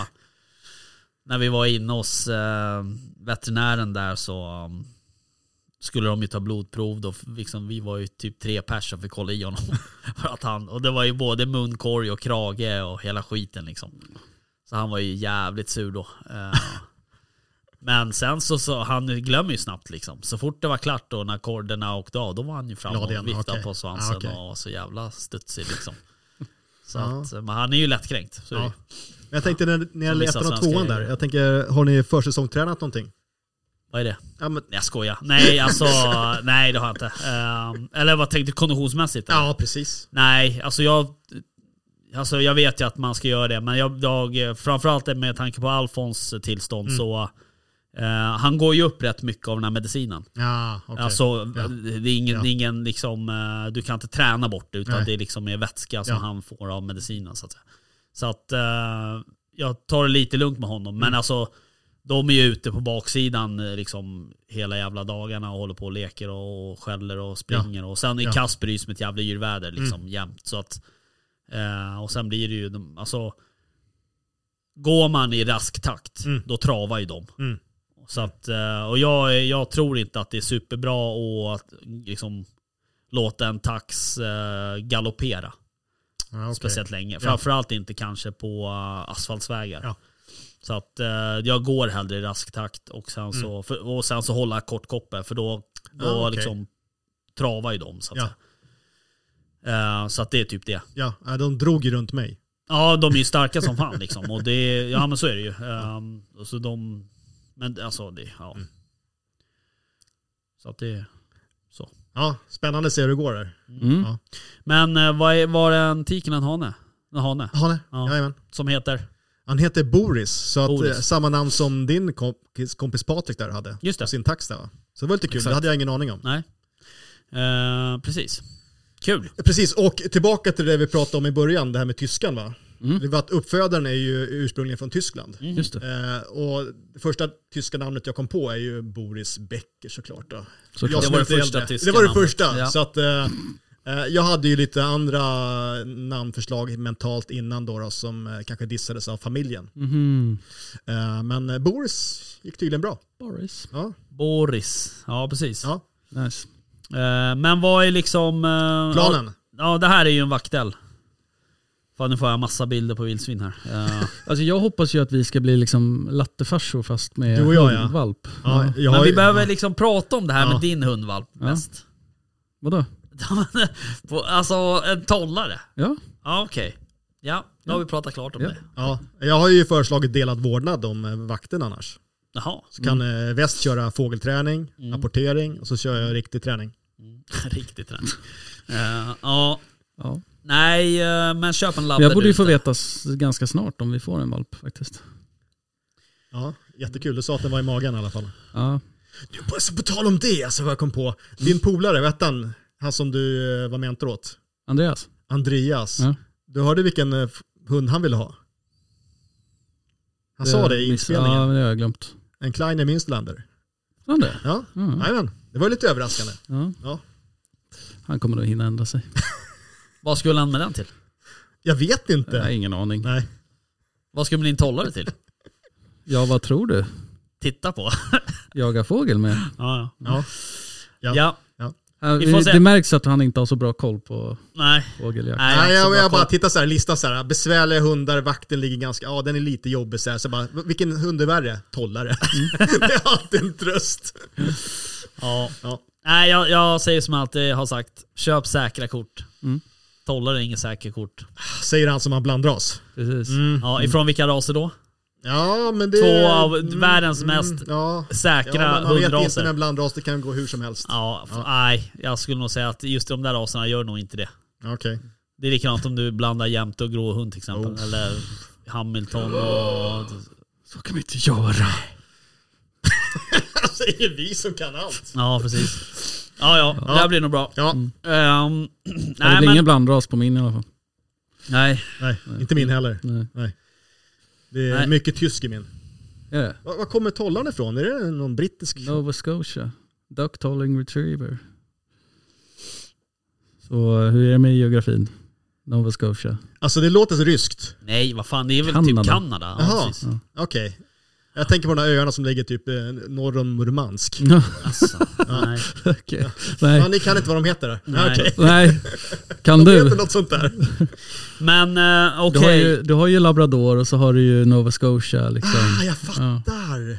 S3: när vi var inne hos eh, veterinären där så um, skulle de ju ta blodprov. Då, liksom, vi var ju typ tre pers som fick kolla i honom. för att han, och det var ju både munkorg och krage och hela skiten liksom. Så han var ju jävligt sur då. Eh, Men sen så, så han glömmer ju snabbt liksom. Så fort det var klart då när korderna åkte av, då var han ju framme
S5: Glad
S3: och
S5: igen,
S3: viftade
S5: okej.
S3: på svansen
S5: Ah, okej.
S3: och var så jävla studsig liksom. Så
S5: Ja.
S3: att, men han är ju lättkränkt. Så är det
S5: Ja.
S3: ju.
S5: Men jag tänkte när, när jag
S3: Som vissa
S5: läste om
S3: svenskar
S5: tvåan
S3: gör.
S5: där, jag tänker, har ni försäsongstränat någonting?
S3: Vad är det?
S5: Ja, men,
S3: Nej jag skojar. Nej alltså, nej det har jag inte. Ehm, eller vad tänkte du konditionsmässigt? eller?
S5: ja precis.
S3: Nej, alltså jag... Alltså jag vet ju att man ska göra det, men jag, jag framförallt med tanke på Alfons tillstånd
S5: Mm.
S3: så... eh, han går ju upp rätt mycket av den här medicinen.
S5: Ja, okej.
S3: Alltså,
S5: Ja.
S3: det är ingen,
S5: Ja.
S3: det är ingen liksom, eh, du kan inte träna bort det, utan
S5: Nej.
S3: det är liksom är vätska som
S5: Ja.
S3: han får av medicinen. Så att, säga. Så att eh, jag tar det lite lugnt med honom.
S5: Mm.
S3: Men alltså, de är ju ute på baksidan eh, liksom, hela jävla dagarna och håller på och leker och skäller och springer. Och sen är
S5: Ja. Mm.
S3: Kasper ju som ett jävla djurväder liksom, jämt. Så att, eh, och sen blir det ju, de, alltså, går man i rask takt,
S5: Mm.
S3: då travar ju de.
S5: Mm.
S3: Så att, eh, och jag, är- jag tror inte att det är superbra att liksom, låta en tax eh, galoppera
S5: ja, okej.
S3: speciellt länge. Framförallt inte kanske på eh, asfaltsvägar.
S5: Ja.
S3: Så att eh, jag går hellre i rask takt och sen så, för, och sen så hålla kort koppel för då, då
S5: Mm. Ah, okej.
S3: liksom, travar ju de. Så att,
S5: Ja.
S3: säga. Eh, så att det är typ det.
S5: Ja, ja, de drog ju runt mig.
S3: Ja, de är ju starka som fan liksom. Och det, ja men så är det ju. Ehm, och så de, men alltså det, ja.
S5: Mm.
S3: Så att det, så.
S5: Ja, spännande att se hur det går där.
S4: Mm.
S3: Men eh, vad är, var det en tiken en hane? En hane?
S5: Hane,
S3: Ja.
S5: jajamän.
S3: Som heter?
S5: Han heter Boris, så att,
S3: Boris.
S5: eh, samma namn som din kompis, kompis Patrik där hade.
S3: Just det.
S5: På Sin tax där va? Så det var lite kul,
S3: Exakt.
S5: det hade jag ingen aning om.
S3: Nej. Eh, precis. Kul.
S5: Precis, och tillbaka till det vi pratade om i början, det här med tyskan va?
S4: Mm.
S5: Det var att uppfödaren är ju ursprungligen från Tyskland.
S4: Just det,
S5: Eh, och det första tyska namnet jag kom på är ju Boris Becker såklart. Då.
S4: såklart.
S5: Jag
S3: Det
S5: som
S3: var det
S5: inte är
S3: första
S5: äldre.
S3: tyska
S5: Det var det
S3: namnet.
S5: första.
S4: Ja.
S5: Så att, eh, eh, jag hade ju lite andra namnförslag mentalt innan då, då som eh, kanske dissades av familjen.
S3: Mm.
S4: Mhm.
S5: Eh, men eh, Boris gick tydligen bra.
S4: Boris.
S5: Ja,
S3: Boris. Ja, precis.
S5: ja.
S4: Nice.
S3: Eh, men vad är liksom... eh,
S5: Planen.
S3: Ja, ja, det här är ju en vaktel. Fan, nu får jag massa bilder på vildsvin här. Eh,
S4: Alltså jag hoppas ju att vi ska bli liksom lattefarsor fast med
S5: Du och jag, ja.
S4: hundvalp.
S5: Ja, jag
S3: men
S5: har
S3: vi
S5: ju-
S3: behöver liksom prata om det här
S5: Ja.
S3: med din hundvalp mest.
S4: Vadå?
S3: På- alltså, en tollare.
S4: Ja,
S3: Ja, okej. Ja, då har vi pratat klart om
S4: Ja.
S3: det.
S5: Ja, jag har ju föreslagit delad vårdnad om eh, vakten annars.
S3: Jaha.
S5: Så kan
S3: Mm.
S5: eh, väst köra fågelträning, apportering och så kör jag riktig träning.
S3: Riktigt rätt. Eh, ja.
S4: ja.
S3: Nej, eh, men köp en labbe
S4: Men jag borde ju
S3: där
S4: få
S3: ute.
S4: veta s- ganska snart om vi får en valp faktiskt.
S5: Ja, jättekul. Du sa att den var i magen i alla fall.
S4: Ja,
S5: Du, på, så på tal om det, alltså vad jag kom på. Din polare, vet han, han som du eh, var mentor åt,
S4: Andreas?
S5: Andreas.
S4: Ja.
S5: Du hörde vilken eh, f- hund han ville ha? Han sa det i
S4: Eh, miss-
S5: inspelningen.
S4: Ja, men det har jag glömt.
S5: En Kleiner Münsterlander.
S4: Han det?
S5: Ja,
S4: Mm.
S5: jajamän. Det var lite överraskande.
S4: Ja.
S5: Ja.
S4: Han kommer nog hinna ändra sig.
S3: Vad skulle han med den till?
S5: Jag vet inte.
S4: Jag har ingen aning.
S5: Nej.
S3: Vad skulle din tollare till?
S4: Ja, vad tror du?
S3: Titta på.
S4: Jaga fågel med?
S3: Ja,
S5: Ja.
S3: ja.
S5: Ja.
S3: ja.
S4: Ja,
S3: Vi får se.
S4: Det märks att han inte har så bra koll på
S3: Nej.
S4: fågeljakt.
S3: Nej,
S5: Nej, jag,
S3: alltså,
S5: jag bara
S3: koll-
S5: tittar så här, listar så här, besvärliga hundar, vakten ligger ganska, ja den är lite jobbig så här, så bara, vilken hund är värre? Tollare.
S4: Mm.
S5: det är alltid en tröst.
S3: ja.
S5: Ja.
S3: Nej, jag, jag säger som jag alltid har sagt. Köp säkra kort.
S4: Mm.
S3: Tollare är inget säkert kort.
S5: Säger han som har blandras.
S4: Precis.
S5: Mm.
S3: Ja, ifrån vilka raser då?
S5: Ja, men det... mm,
S3: Två av världens mest
S5: ja.
S3: Säkra
S5: ja, man vet inte med
S3: hundraser.
S5: en blandras, det kan gå hur som helst.
S3: Ja, f- nej. Jag skulle nog säga att just de där raserna gör nog inte det.
S5: Okej.
S3: Det är likadant om du blandar jämte och grå hund till exempel.
S5: Oh.
S3: Eller Hamilton och...
S4: Så kan vi inte göra.
S5: Säger vi som kan allt.
S3: Ja, precis. Ja, ja. Det här blir nog bra.
S5: Ja,
S3: Ehm,
S4: Nej, det
S3: nej,
S4: blir
S3: men,
S4: ingen blandras på min i alla fall.
S3: nej,
S5: nej, inte min heller.
S4: Nej.
S5: Det är
S3: Nej.
S5: mycket tysk i min.
S4: Är det?
S5: Var, var kommer tollan ifrån? Är det någon brittisk?
S4: Nova Scotia. Duck Tolling Retriever. Så eh, hur är det med geografin? Nova Scotia.
S5: Alltså det låter så ryskt.
S3: nej, vad fan. Det är väl typ
S4: Kanada.
S3: Kanada. Ja,
S5: Jaha,
S3: precis.
S5: okej. Jag tänker på de här öarna som ligger typ eh, norr om Murmansk.
S3: Alltså, nej.
S4: Okej. Nej.
S5: Ja, ni kan inte vad de heter där.
S3: Nej.
S5: Nej. Okej,
S4: Nej, kan
S5: det heter
S4: du?
S5: något sånt där.
S3: Men eh,
S4: Du
S3: okej.
S4: har, ju, du har ju labrador och så har du ju Nova Scotia. Liksom.
S5: Ah, jag fattar.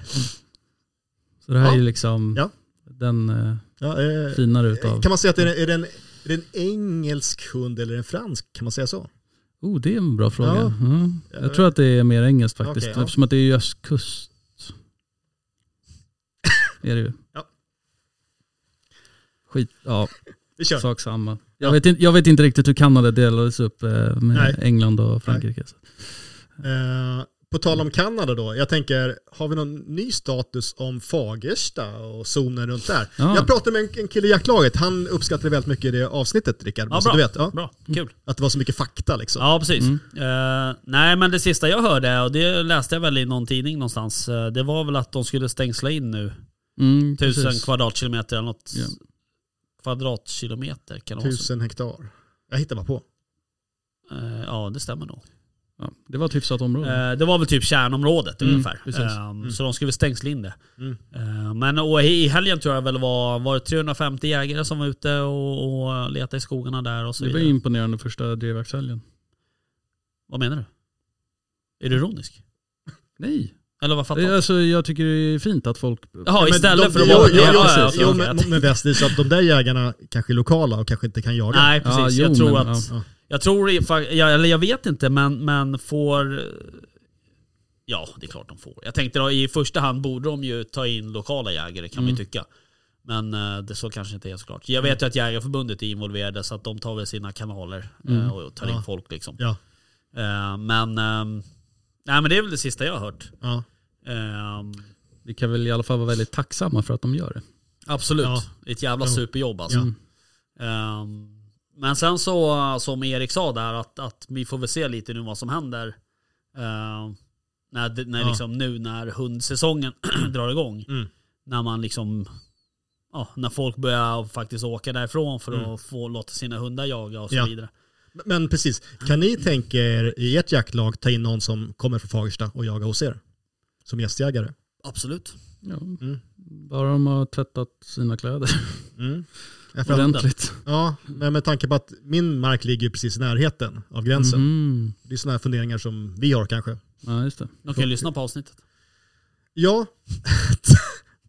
S4: Så det här är ju
S5: Ja.
S4: liksom
S5: Ja.
S4: den eh,
S5: Ja, eh,
S4: finare utav.
S5: kan man säga att det är, är, det en, är det en engelsk hund eller en fransk? Kan man säga så?
S4: Oh, det är en bra fråga.
S5: Ja.
S4: Mm. Jag tror att det är mer engelskt faktiskt.
S5: Okej, ja.
S4: Eftersom att det är ju östkust. är det ju.
S5: Ja.
S4: Skit, ja,
S5: Vi kör.
S4: sak samma. Jag,
S5: Ja.
S4: vet inte, jag vet inte riktigt hur Kanada delades upp eh, med
S5: Nej.
S4: England och Frankrike. Så.
S5: Eh, på tal om Kanada då, jag tänker, har vi någon ny status om Fagersta och zonen runt där?
S4: Ja.
S5: Jag pratade med en, en kille i jaktlaget, han uppskattade väldigt mycket det avsnittet Rickard.
S3: Ja,
S5: så
S3: bra.
S5: du vet, ja,
S3: Bra,
S4: Mm.
S3: kul.
S5: att det var så mycket fakta liksom.
S3: Ja, precis. Eh, nej, men det sista jag hörde, och det läste jag väl i någon tidning någonstans, eh, det var väl att de skulle stängsla in nu
S4: Mm,
S3: tusen
S4: precis.
S3: kvadratkilometer eller något.
S4: Ja.
S3: Kvadratkilometer kan det vara.
S5: Tusen hektar. Jag hittar bara på.
S3: Eh, Ja, det stämmer nog.
S4: Ja, det var ett hyfsat område.
S5: Mm.
S3: Eh, Det var väl typ kärnområdet
S4: Mm,
S3: ungefär.
S4: precis.
S3: Ehm, Så de skulle stängsla in det.
S5: Mm.
S3: Eh, Men och i i helgen tror jag väl var, var det 350 jägare som var ute och, och letade i skogarna där och så
S4: det var
S3: vidare.
S4: ju imponerande första drevjaktshelgen.
S3: Vad menar du? Är du ironisk?
S4: Nej,
S3: Eller vad fattar
S4: det, är-
S3: du?
S4: alltså, jag tycker det är fint att folk...
S3: Jaha,
S5: Men
S3: istället
S5: de-
S3: för att
S5: jo,
S3: vara...
S5: Jo,
S3: Ja,
S5: jo,
S3: ja,
S5: precis.
S3: ja, okej,
S5: jo
S3: jag
S5: men,
S3: tänkte-
S5: men väst, det är så att de där jägarna kanske är lokala och kanske inte kan jaga.
S3: Nej precis,
S4: Ja, jo,
S3: jag tror
S4: men,
S3: att...
S4: ja.
S3: Jag tror i fa- ja, eller jag vet inte men, men får... Ja det är klart de får. Jag tänkte då, i första hand borde de ju ta in lokala jägare kan
S4: Mm.
S3: man ju tycka. Men eh, det så kanske inte är såklart. Jag vet ju att Jägarförbundet är involverade så att de tar väl sina kanaler eh,
S4: Mm.
S3: och tar in
S5: Ja.
S3: folk liksom.
S5: Ja,
S3: Eh, Men, ehm, nej, men det är väl det sista jag har hört.
S5: ja.
S3: Ehm,
S4: Vi kan väl i alla fall vara väldigt tacksamma för att de gör det.
S3: Absolut.
S5: Ja.
S3: Ett jävla
S5: Jo.
S3: superjobb alltså. Ehm, men sen så, som Erik sa där, att, att vi får väl se lite nu vad som händer. ehm, när, det- när
S5: Ja.
S3: liksom nu när hundsäsongen drar igång.
S5: Mm.
S3: När man liksom, ja, när folk börjar faktiskt åka därifrån för att få låta sina hundar jaga och så
S5: Mm. Ja.
S3: vidare.
S5: Men precis, kan ni tänka er i ert jaktlag ta in någon som kommer från Fagersta och jagar hos er? Som gästjägare?
S3: Absolut.
S4: Ja.
S3: Mm.
S4: Bara de har tvättat sina kläder
S5: Mm. Jag får-
S4: ordentligt.
S5: Ja, men med tanke på att min mark ligger ju precis i närheten av gränsen.
S3: Mhm.
S4: Mm.
S5: Det är sådana här funderingar som vi har kanske.
S4: Ja, just det.
S3: De kan ju lyssna på avsnittet.
S5: Ja,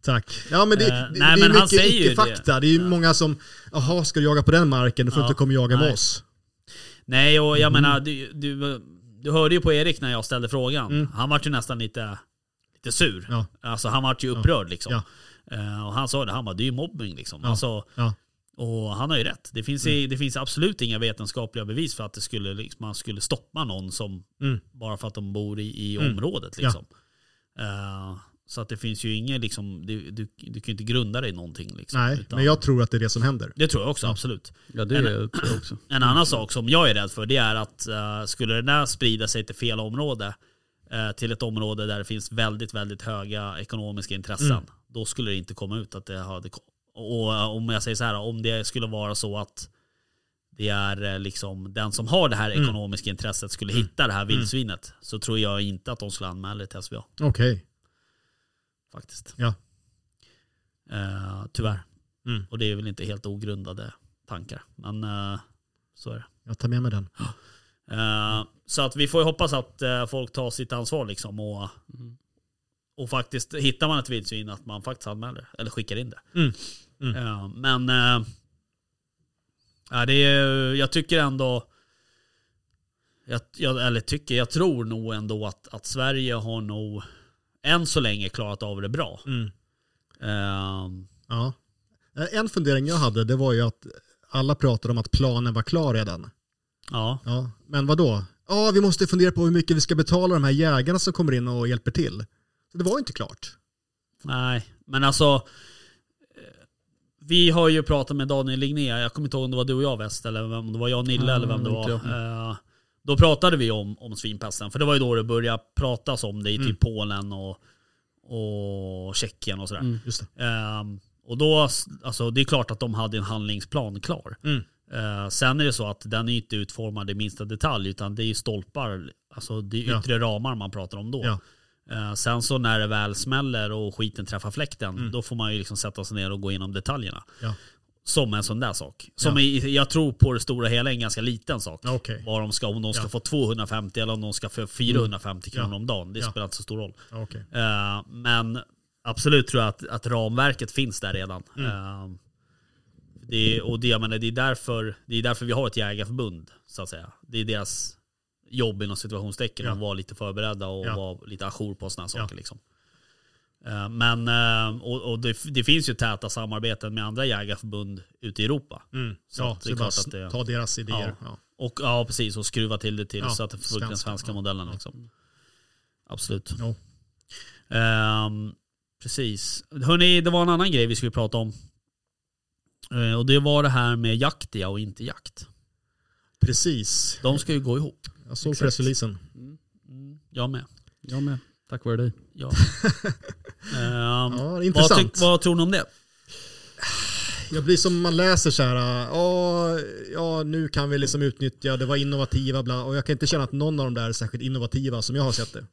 S5: tack. Ja, men det,
S3: Eh,
S5: det,
S3: nej,
S5: det är
S3: men han
S5: mycket
S3: säger ju det.
S5: icke-fakta. Det. är ju många som, jaha, ska du jaga på den marken? Då får
S3: Ja,
S5: du inte komma och jaga med
S3: nej.
S5: oss.
S3: Nej och jag
S5: Mm.
S3: menar, du, du, du hörde ju på Erik när jag ställde frågan.
S5: Mm.
S3: Han vart ju nästan lite, lite sur.
S5: Ja.
S3: Alltså han vart ju upprörd liksom.
S5: Ja.
S3: Eh, och han sa det, han bara det är ju mobbing liksom.
S5: Ja.
S3: Alltså,
S5: Ja. Mm.
S3: Och han har ju rätt. Det finns, i, det finns absolut inga vetenskapliga bevis för att det skulle, liksom, man skulle stoppa någon som,
S5: Mm.
S3: bara för att de bor i, i
S5: Mm.
S3: området. Liksom. Eh, så att det finns ju ingen, liksom, du, du, du kan ju inte grunda dig i någonting. Liksom,
S5: Nej,
S3: Utan-
S5: men jag tror att det är det som händer.
S3: Det tror jag också, absolut.
S4: Ja, det
S3: Eller-
S4: tror jag också.
S3: En annan sak som jag är rädd för det är att eh, skulle den där sprida sig till fel område, eh, till ett område där det finns väldigt, väldigt höga ekonomiska intressen,
S5: Mm.
S3: då skulle det inte komma ut att det hade ko- Och eh, om jag säger så här, om det skulle vara så att det är eh, liksom den som har det här
S5: Mm.
S3: ekonomiska intresset skulle hitta det här vildsvinet så tror jag inte att de skulle anmäla det till SVA
S5: Okej.
S3: faktiskt.
S5: Ja.
S3: Eh, tyvärr.
S5: Mm.
S3: Och det är väl inte helt ogrundade tankar. Men eh, så är det.
S5: Jag tar med mig den.
S3: Eh, Så att vi får ju hoppas att eh, folk tar sitt ansvar liksom och,
S5: Mm.
S3: och faktiskt hittar man ett vildsvin att man faktiskt anmäler det, eller skickar in det.
S5: Mm. Mm.
S3: Eh, Men eh, ja, det är, jag tycker ändå, jag, jag, eller tycker, jag tror nog ändå att, att Sverige har nog än så länge klarat av det bra.
S5: Mm.
S3: Eh,
S5: Ja. Eh, En fundering jag hade, det var ju att alla pratade om att planen var klar redan.
S3: Ja.
S5: Ja, men vad då? Ja, vi måste fundera på hur mycket vi ska betala de här jägarna som kommer in och hjälper till. Så det var ju inte klart.
S3: Nej, men alltså. eh, Vi har ju pratat med Daniel Ligné, jag kommer inte ihåg om det var du och jag West, eller vem- om det var jag och Nille
S4: Ja,
S3: eller vem det var.
S4: inte jag.
S3: Eh, Då pratade vi om, om svinpesten, för det var ju då det började pratas om det i typ
S4: Mm.
S3: Polen och, och Tjeckien och sådär.
S5: Just det.
S3: Ehm, och då, alltså det är klart att de hade en handlingsplan klar.
S5: Mm.
S3: Eh, sen är det så att den är inte utformad i minsta detalj, utan det är ju stolpar, alltså det är
S5: Ja.
S3: yttre ramar man pratar om då.
S5: Ja.
S3: Eh, sen så när det väl smäller och skiten träffar fläkten,
S5: Mm.
S3: då får man ju liksom sätta sig ner och gå igenom detaljerna.
S5: Ja.
S3: Som en sån där sak. Som i, jag tror på det stora hela är en ganska liten sak.
S5: Ja, okej.
S3: Vad de ska, om de ska
S5: Ja. Mm.
S3: få 250 eller om de ska få 450 kronor
S5: Ja.
S3: om dagen. Det
S5: Ja.
S3: spelar inte så stor roll.
S5: Ja, okej.
S3: Eh, men absolut tror jag att, att ramverket finns där redan.
S5: Mm.
S3: Eh, det, är- och det, jag menar, det, är därför, det är därför vi har ett jägarförbund, så att säga. Det är deras jobb inom situationstecken
S5: Ja.
S3: att vara lite förberedda och
S5: Ja.
S3: vara lite ajour på sådana
S5: Ja.
S3: saker. Liksom. Eh, Men, eh, och, och det, det finns ju täta samarbeten med andra jägarförbund ute i Europa.
S5: Mm.
S3: Så
S5: ja,
S3: att
S5: så det är bara att ta deras idéer.
S3: Ja.
S5: Ja.
S3: Och, ja, precis, och skruva till det till
S5: Ja,
S3: så att det får ut den
S5: svenska,
S3: svenska
S5: ja.
S3: modellen. Liksom. Absolut.
S5: Ja.
S3: Ehm, precis. Hörrni, det var en annan grej vi skulle prata om. Eh, och det var det här med jakt ja och inte jakt.
S5: Precis.
S3: De ska ju gå ihop.
S5: Jag såg
S4: Exakt.
S5: pressreleasen.
S3: Jag med.
S4: Jag med. Tack vare dig.
S3: Ja. Ehm,
S5: Ja, det är
S3: vad,
S5: intressant.
S3: tyck, vad tror ni om det?
S5: Jag blir som man läser så här, äh, ja, ja nu kan vi liksom utnyttja, det var innovativa bla, och jag kan inte känna att någon av de där är särskilt innovativa som jag har sett det.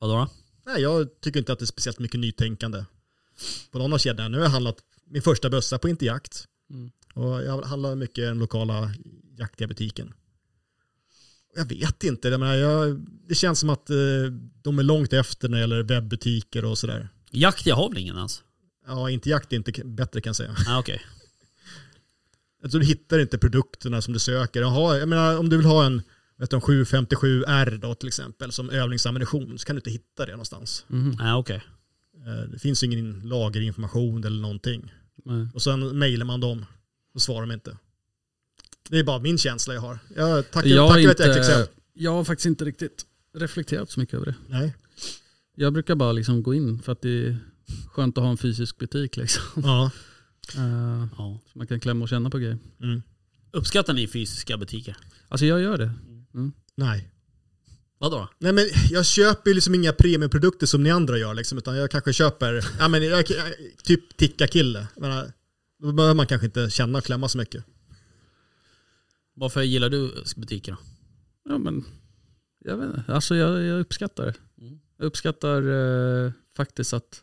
S3: Vadå då?
S5: Nej, jag tycker inte att det är speciellt mycket nytänkande på någon av kedjorna. Nu har jag handlat min första bössa på Inte Jakt.
S4: Mm.
S5: Och jag handlar mycket i den lokala jaktiga butiken. Jag vet inte, jag menar, jag, det känns som att eh, de är långt efter när det gäller webbutiker och sådär.
S3: Jakt ja har väl ingen ens?
S5: Ja, Inte Jakt är inte k- bättre kan jag säga.
S3: Ah, Okej.
S5: Alltså, du hittar inte produkterna som du söker. Jaha, jag menar, om du vill ha en vet du, en 757R då till exempel som övningsammunition så kan du inte hitta det någonstans.
S3: Ah, okej.
S5: Eh, Det finns ju ingen lagerinformation eller någonting.
S4: Nej.
S5: Och sen mejlar man dem och svarar de inte. Det är bara min känsla jag har. Jag tackar,
S4: Jag,
S5: tackar
S4: har
S5: ett
S4: inte,
S5: XXL.
S4: jag har faktiskt inte riktigt reflekterat så mycket över det.
S5: Nej.
S4: Jag brukar bara liksom gå in för att det är skönt att ha en fysisk butik. Liksom.
S5: Ja.
S4: Eh,
S3: Ja.
S4: så man kan klämma och känna på grejer.
S5: Mm.
S3: Uppskattar ni fysiska butiker?
S4: Alltså jag gör det.
S5: Nej.
S3: Vadå då?
S5: Nej men jag köper ju liksom inga premiumprodukter som ni andra gör liksom, utan jag kanske köper, ja men jag, jag, typ Tikka-kille. Jag menar, Då behöver man kanske inte känna och klämma så mycket.
S3: Varför gillar du butiker då?
S4: Ja, men, jag, vet inte. Alltså jag, jag uppskattar det.
S3: Mm.
S4: Jag uppskattar eh, faktiskt att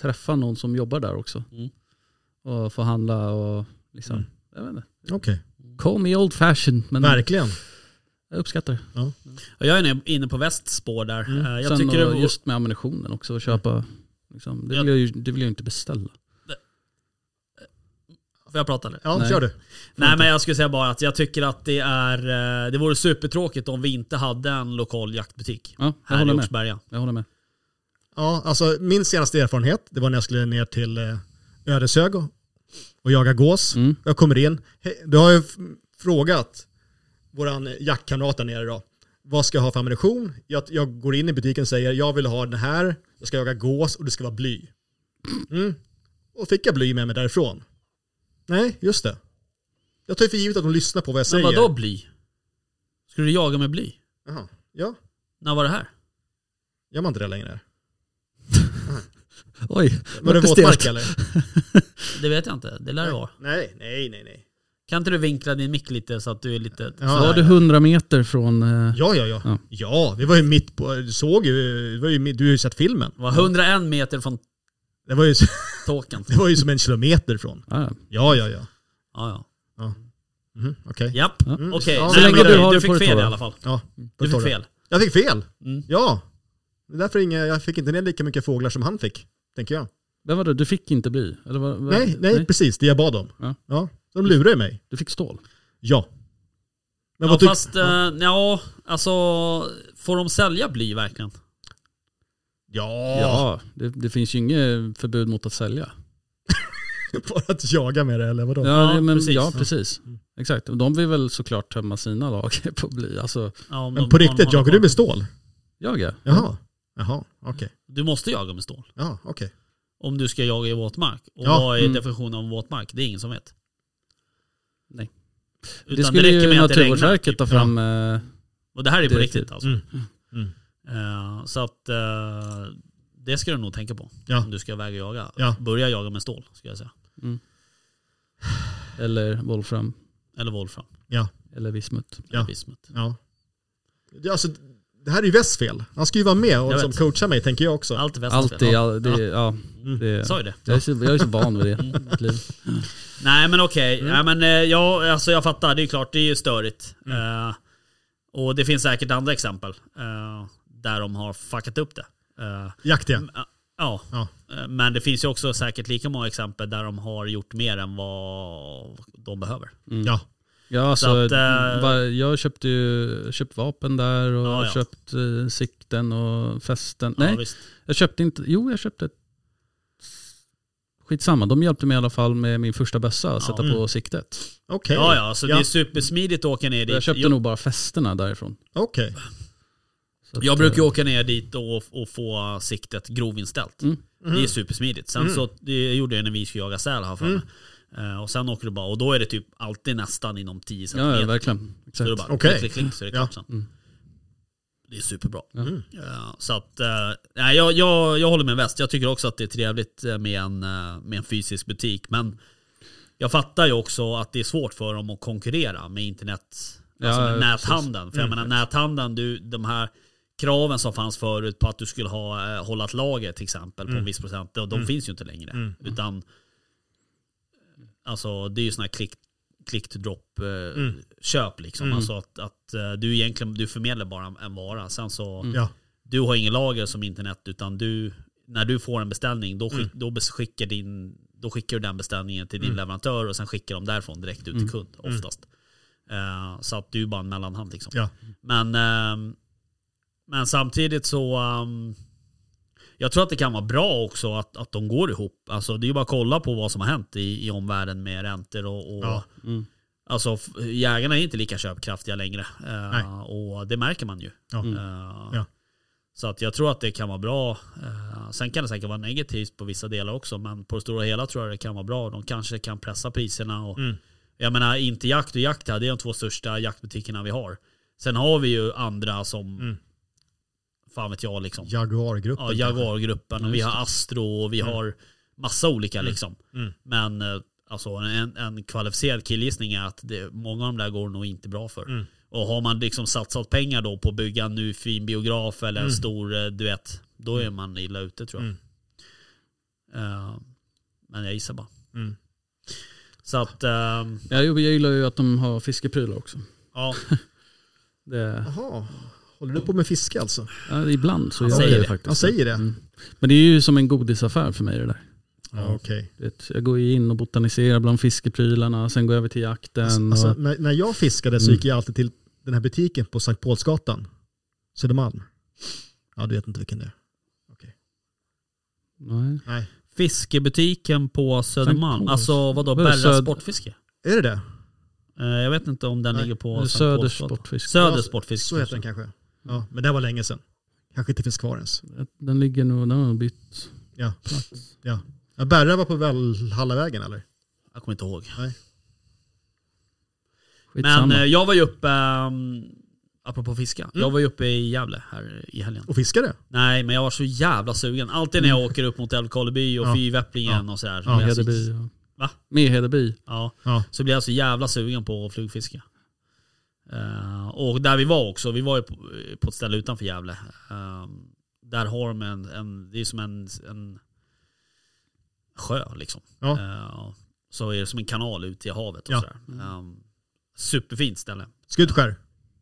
S4: träffa någon som jobbar där också.
S3: Mm.
S4: Och få handla och liksom, jag vet inte.
S5: Okej.
S4: Call me old fashioned, men
S5: Mm. Verkligen.
S4: jag uppskattar det.
S3: Ja, Jag är inne- inne på västs spår där. Eh, Jag
S4: Mm. Sen
S3: tycker det
S4: och
S3: var-
S4: just med ammunitionen också, att köpa. Liksom, det,
S3: Jag-
S4: vill jag ju, det vill jag ju inte beställa.
S3: Får jag prata nu?
S5: Ja,
S4: Nej.
S5: kör du.
S3: Nej men jag skulle säga bara att jag tycker att det är eh, Det vore supertråkigt om vi inte hade en lokal jaktbutik.
S4: Ja, jag
S3: här i
S4: håller med.
S3: Oxberga.
S4: Jag håller med.
S5: Ja, alltså min senaste erfarenhet, det var när jag skulle ner till eh, Ödeshög och, och jaga gås.
S4: Mm.
S5: Jag kommer in. Hej, Du har ju f- frågat våran jaktkamrat där nere då. Vad ska jag ha för ammunition? Jag, jag går in i butiken och säger jag vill ha den här, jag ska jaga gås och det ska vara bly. Mm. Och fick jag bly med mig därifrån? Nej, just det. Jag tar ju för givet att de lyssnar på vad jag
S3: Men
S5: säger.
S3: vadå bly? Skulle du jaga med bly?
S5: Jaha. Ja,
S3: När var det här?
S5: gör man inte det längre?
S4: Oj,
S5: Var det
S4: låter
S5: våtmark
S4: stelt.
S5: eller?
S3: Det vet jag inte. Det lär det vara.
S5: Nej, nej, nej, nej.
S3: Kan inte du vinkla din mick lite så att du är lite...
S5: Ja,
S4: Var du 100 meter från... Eh,
S5: Ja, ja, ja.
S4: Ja.
S5: Ja, vi var ju mitt på, du såg ju, det var ju, mitt- du har ju sett filmen.
S3: Var 101 meter från
S5: Det var ju,
S3: tåken.
S5: det var ju som en kilometer från.
S4: ja, ja.
S5: Ja, ja, ja.
S3: Ja, ja.
S5: Mhm, Okej.
S3: Japp.
S5: Mm.
S3: Okej,
S5: Ja,
S3: Nej,
S5: så
S3: men
S4: länge
S3: du,
S4: du har
S3: du
S4: det på
S3: fick
S4: det
S3: fel i
S4: torra.
S3: alla fall.
S5: Ja,
S3: Du
S5: förstår
S3: fick
S5: jag.
S3: fel.
S5: Jag fick fel.
S3: Mm.
S5: Ja. Det är därför inga, jag fick inte ner lika mycket fåglar som han fick, tänker jag.
S4: Men vadå, du fick inte bly? Eller vad, vad,
S5: Nej, nej, precis. Det jag bad om. Ja.
S4: Ja.
S5: De lurade mig.
S4: Du fick stål?
S5: Ja. Men
S3: Ja,
S5: tyck-
S3: fast, eh, ja, alltså... Får de sälja bly verkligen?
S5: Ja.
S4: Ja, det, det finns ju inget förbud mot att sälja.
S5: Bara att jaga med det eller vadå?
S4: Ja,
S3: Ja,
S4: men,
S3: precis.
S4: precis. ja precis. Exakt, och de vill väl såklart tömma sina lager på bly. Alltså,
S3: Ja, om
S5: men
S3: de-
S5: på
S3: om de
S5: riktigt,
S3: håller
S5: jagar
S3: på.
S5: du med stål?
S4: jag ja.
S5: Jaha. Jaha, okej.
S3: Du måste jaga med stål.
S5: Ja, okej.
S3: Om du ska jaga i våtmark. Och
S5: Ja,
S3: vad är
S4: mm.
S3: definitionen av våtmark? Det är ingen som vet.
S4: Nej.
S3: Utan
S4: det skulle
S3: räcker
S4: ju
S3: med att det regnar. typ.
S4: Naturvårdsverket ta fram. eh,
S3: Och det här är på
S4: Det är
S3: riktigt
S4: typ-
S3: alltså.
S5: Mm. Mm.
S3: Eh, så att eh, det ska du nog tänka på.
S5: Ja.
S3: Om du ska väga jaga.
S5: Ja.
S3: Börja jaga med stål, ska jag säga.
S4: Eller Wolfram.
S3: Eller volfram.
S4: Eller Vismut.
S5: Ja.
S3: Eller bismut.
S5: Ja. Det, alltså, det här är ju Wess fel. Han ska ju vara med och
S3: Jag
S5: som
S3: vet.
S5: coachar mig tänker jag också.
S3: Allt är väst.
S4: Allt det,
S3: Alltså, Ja. Mm.
S4: all, det, ja. det,
S3: Sa ju det.
S4: jag, är så, jag är så van vid det. i mitt liv.
S3: Nej men okej,
S5: Mm.
S3: Nej, men, eh, ja, alltså, jag fattar. Det är klart, det är ju störigt.
S5: Mm.
S3: Eh, och det finns säkert andra exempel eh, där de har fuckat upp det. Eh,
S5: Jakt igen.
S3: ja.
S5: Ja.
S3: Eh, men det finns ju också säkert lika många exempel där de har gjort mer än vad de behöver.
S5: Ja.
S4: Ja, alltså,
S3: att, eh,
S4: va- jag köpte ju köpt vapen där och
S3: Ja, ja.
S4: köpt eh, sikten och fästen. Nej,
S3: Ja, visst.
S4: jag köpte inte, jo jag köpte ett Skitsamma, de hjälpte mig i alla fall med min första bössa att sätta
S3: Mm.
S4: på siktet.
S5: Okej.
S3: ja, ja, så
S5: Ja.
S3: det är supersmidigt att åka ner dit.
S4: Jag köpte
S3: jag,
S4: nog bara fästena därifrån.
S5: Okej.
S3: Mm.
S4: Så att,
S3: jag brukar ju
S4: eh,
S3: åka ner dit och, och få siktet grovinställt.
S4: Mm.
S3: Det är supersmidigt. Sen så, det gjorde jag när vi skulle jaga säl här för
S4: Mm.
S3: mig. Eh, Och sen åker du bara, och då är det typ alltid nästan inom 10 centimeter.
S4: Ja, ja verkligen.
S3: Så
S4: Exakt.
S3: är det bara
S5: Okej.
S3: klick, klick, klick, så är det
S5: Ja.
S3: klart sen. Det är superbra. Mm. Ja, så att, eh, nej, jag, jag, jag håller med väst. Jag tycker också att det är trevligt eh, med en, eh, med en fysisk butik. Men jag fattar ju också att det är svårt för dem att konkurrera med internet, alltså
S4: Ja,
S3: med
S4: ja,
S3: näthandeln. För jag menar näthandeln, du, de här kraven som fanns förut på att du skulle ha, eh, hålla ett lager till exempel på en viss procent, de, de finns ju inte längre. Utan, alltså det är ju sådana här klick click to drop eh, köp liksom. Alltså att, att eh, du egentligen du förmedlar bara en- en vara. Sen så,
S5: Ja.
S3: du har ingen lager som internet utan du, när du får en beställning då,
S5: Mm.
S3: skick, då bes- skickar din då skickar du den beställningen till din leverantör och sen skickar de därifrån direkt
S5: Mm.
S3: ut till kund oftast. Eh, så att du är bara en mellanhand liksom.
S5: Ja.
S3: Men, ehm, men samtidigt så ehm, jag tror att det kan vara bra också att, att de går ihop. Alltså det är ju bara att kolla på vad som har hänt i, i omvärlden med räntor och, och
S5: Ja.
S3: Alltså f- jägarna är inte lika köpkraftiga längre. Eh,
S5: Nej.
S3: och det märker man ju.
S5: Ja.
S3: Eh,
S5: Mm. Ja.
S3: Så att jag tror att det kan vara bra. Eh, sen kan det säkert vara negativt på vissa delar också. Men på det stora hela tror jag det kan vara bra. De kanske kan pressa priserna. Och,
S5: Mm.
S3: Jag menar inte jakt och jakt här. Det är de två största jaktbutikerna vi har. Sen har vi ju andra som,
S5: Mm.
S3: fan vet jag liksom.
S5: Jaguargruppen.
S3: Ja, Jaguargruppen och vi har Astro och vi har massa olika liksom.
S5: Mm.
S3: Men eh, alltså, en, en kvalificerad killgissning är att det, många av de där går nog inte bra för.
S5: Mm.
S3: Och har man liksom satsat pengar då på att bygga en ny fin biograf eller
S5: Mm.
S3: en stor, eh, du vet, då är man illa ute tror jag. Eh, men jag gissar bara.
S5: Mm.
S3: Så att, ehm,
S4: Ja, jo, jag gillar ju att de har fiskeprylar också.
S3: ja,
S4: Det,
S5: Jaha. Håller du på med fiske alltså?
S4: ja, ibland så gör
S3: säger
S4: jag det
S3: det.
S4: faktiskt. Mm.
S5: Han säger det?
S4: Men det är ju som en godisaffär för mig det där.
S5: Ja, okej.
S4: Du Vet, jag går ju in och botaniserar bland fiskeprylarna, sen går jag över till jakten.
S5: Alltså,
S4: och,
S3: eh,
S5: när, när jag fiskade så
S4: Mm.
S5: gick jag alltid till den här butiken på Sankt Paulsgatan. Södermalm. Ja, du vet inte vilken det är.
S4: nej.
S5: Nej.
S3: fiskebutiken på Södermalm.
S4: Paul's.
S3: Alltså vadå,
S4: Vad är det,
S3: Berra
S4: Söd-
S3: Sportfiske?
S5: Är det det?
S3: Eh, jag vet inte om den
S5: Nej,
S3: ligger på Sankt
S4: Söders
S3: Paulsgatan.
S4: sportfiske.
S3: Söders Sportfiske.
S5: Så heter den kanske.
S3: Mm.
S5: Ja, men det här var länge sedan. Kanske inte finns kvar ens.
S4: Den ligger nog, den har bytt.
S5: Ja. ja. ja Berra var på Valhallavägen eller?
S3: Jag kommer inte ihåg.
S4: Skitsamma.
S3: Men eh, jag var ju uppe, um, apropå fiska,
S5: Mm.
S3: jag var ju uppe i Gävle här i helgen.
S5: Och fiskade?
S3: Nej men jag var så jävla sugen. Alltid när jag åker upp mot Älvkarleby och
S5: Mm. Ja.
S3: Fyrväpplingen och sådär. Så
S5: Ja,
S3: blir jag så,
S4: Hedeby. och-
S3: Va?
S4: Med Hedeby.
S3: ja,
S5: Ja.
S3: så blir jag så jävla sugen på att flugfiska. Eh, och där vi var också, vi var ju på, eh, på ett ställe utanför Gävle. Eh, där har de en, en det är som en, en sjö liksom.
S5: Ja.
S3: Eh, så är det som en kanal ut i havet och
S5: Ja.
S3: sådär. Eh, superfint ställe.
S5: Skutskär?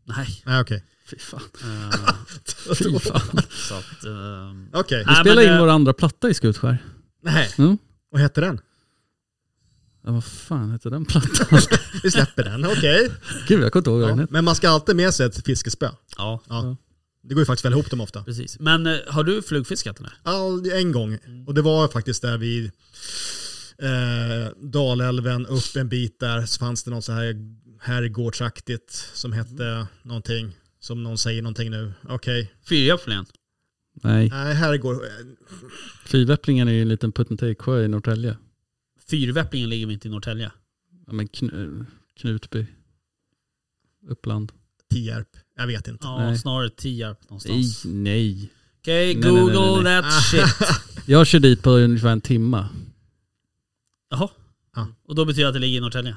S3: Nej.
S5: Nej, okej.
S4: Fy fan.
S3: Eh,
S4: Fy fan.
S3: Så att, ehm,
S5: Okej.
S4: Vi
S3: Nej,
S4: spelade
S3: men,
S4: in
S3: eh,
S4: vår andra platta i Skutskär.
S5: Nej.
S4: Mm.
S5: Vad heter den?
S4: Ja, vad fan heter den plattan?
S5: Vi släpper den, okej.
S4: Gud, jag kommer inte ihåg vad den
S5: Ja.
S4: heter.
S5: Men man ska alltid med sig ett fiskespö.
S3: ja,
S5: Ja.
S4: Ja.
S5: Det går ju faktiskt väl ihop dem ofta.
S3: precis. Men eh, har du flugfiskat eller?
S5: All, en gång. Och det var faktiskt där vid eh, Dalälven upp en bit där så fanns det något så här herrgårdsaktigt som hette någonting. Som någon säger någonting nu. Okej.
S3: Fyrgöflingen.
S4: Nej,
S5: Nej, herrgård. eh,
S4: Fyrväpplingen är ju en liten put and take-sjö i Norrtälje.
S3: Fyrväpplingen ligger mitt i Norrtälje.
S4: Ja, men kn- eh, Knutby. Uppland.
S5: Tierp. Jag vet inte.
S3: Ja,
S4: Nej.
S3: snarare Tierp
S4: Nej,
S3: någonstans.
S4: nej.
S3: Okej,
S4: Nej, nej, nej,
S3: google
S4: nej, nej.
S3: that shit.
S4: Jag kör dit på ungefär en timma.
S3: Jaha.
S5: Ja.
S3: Och då betyder det att det ligger i Norrtälje.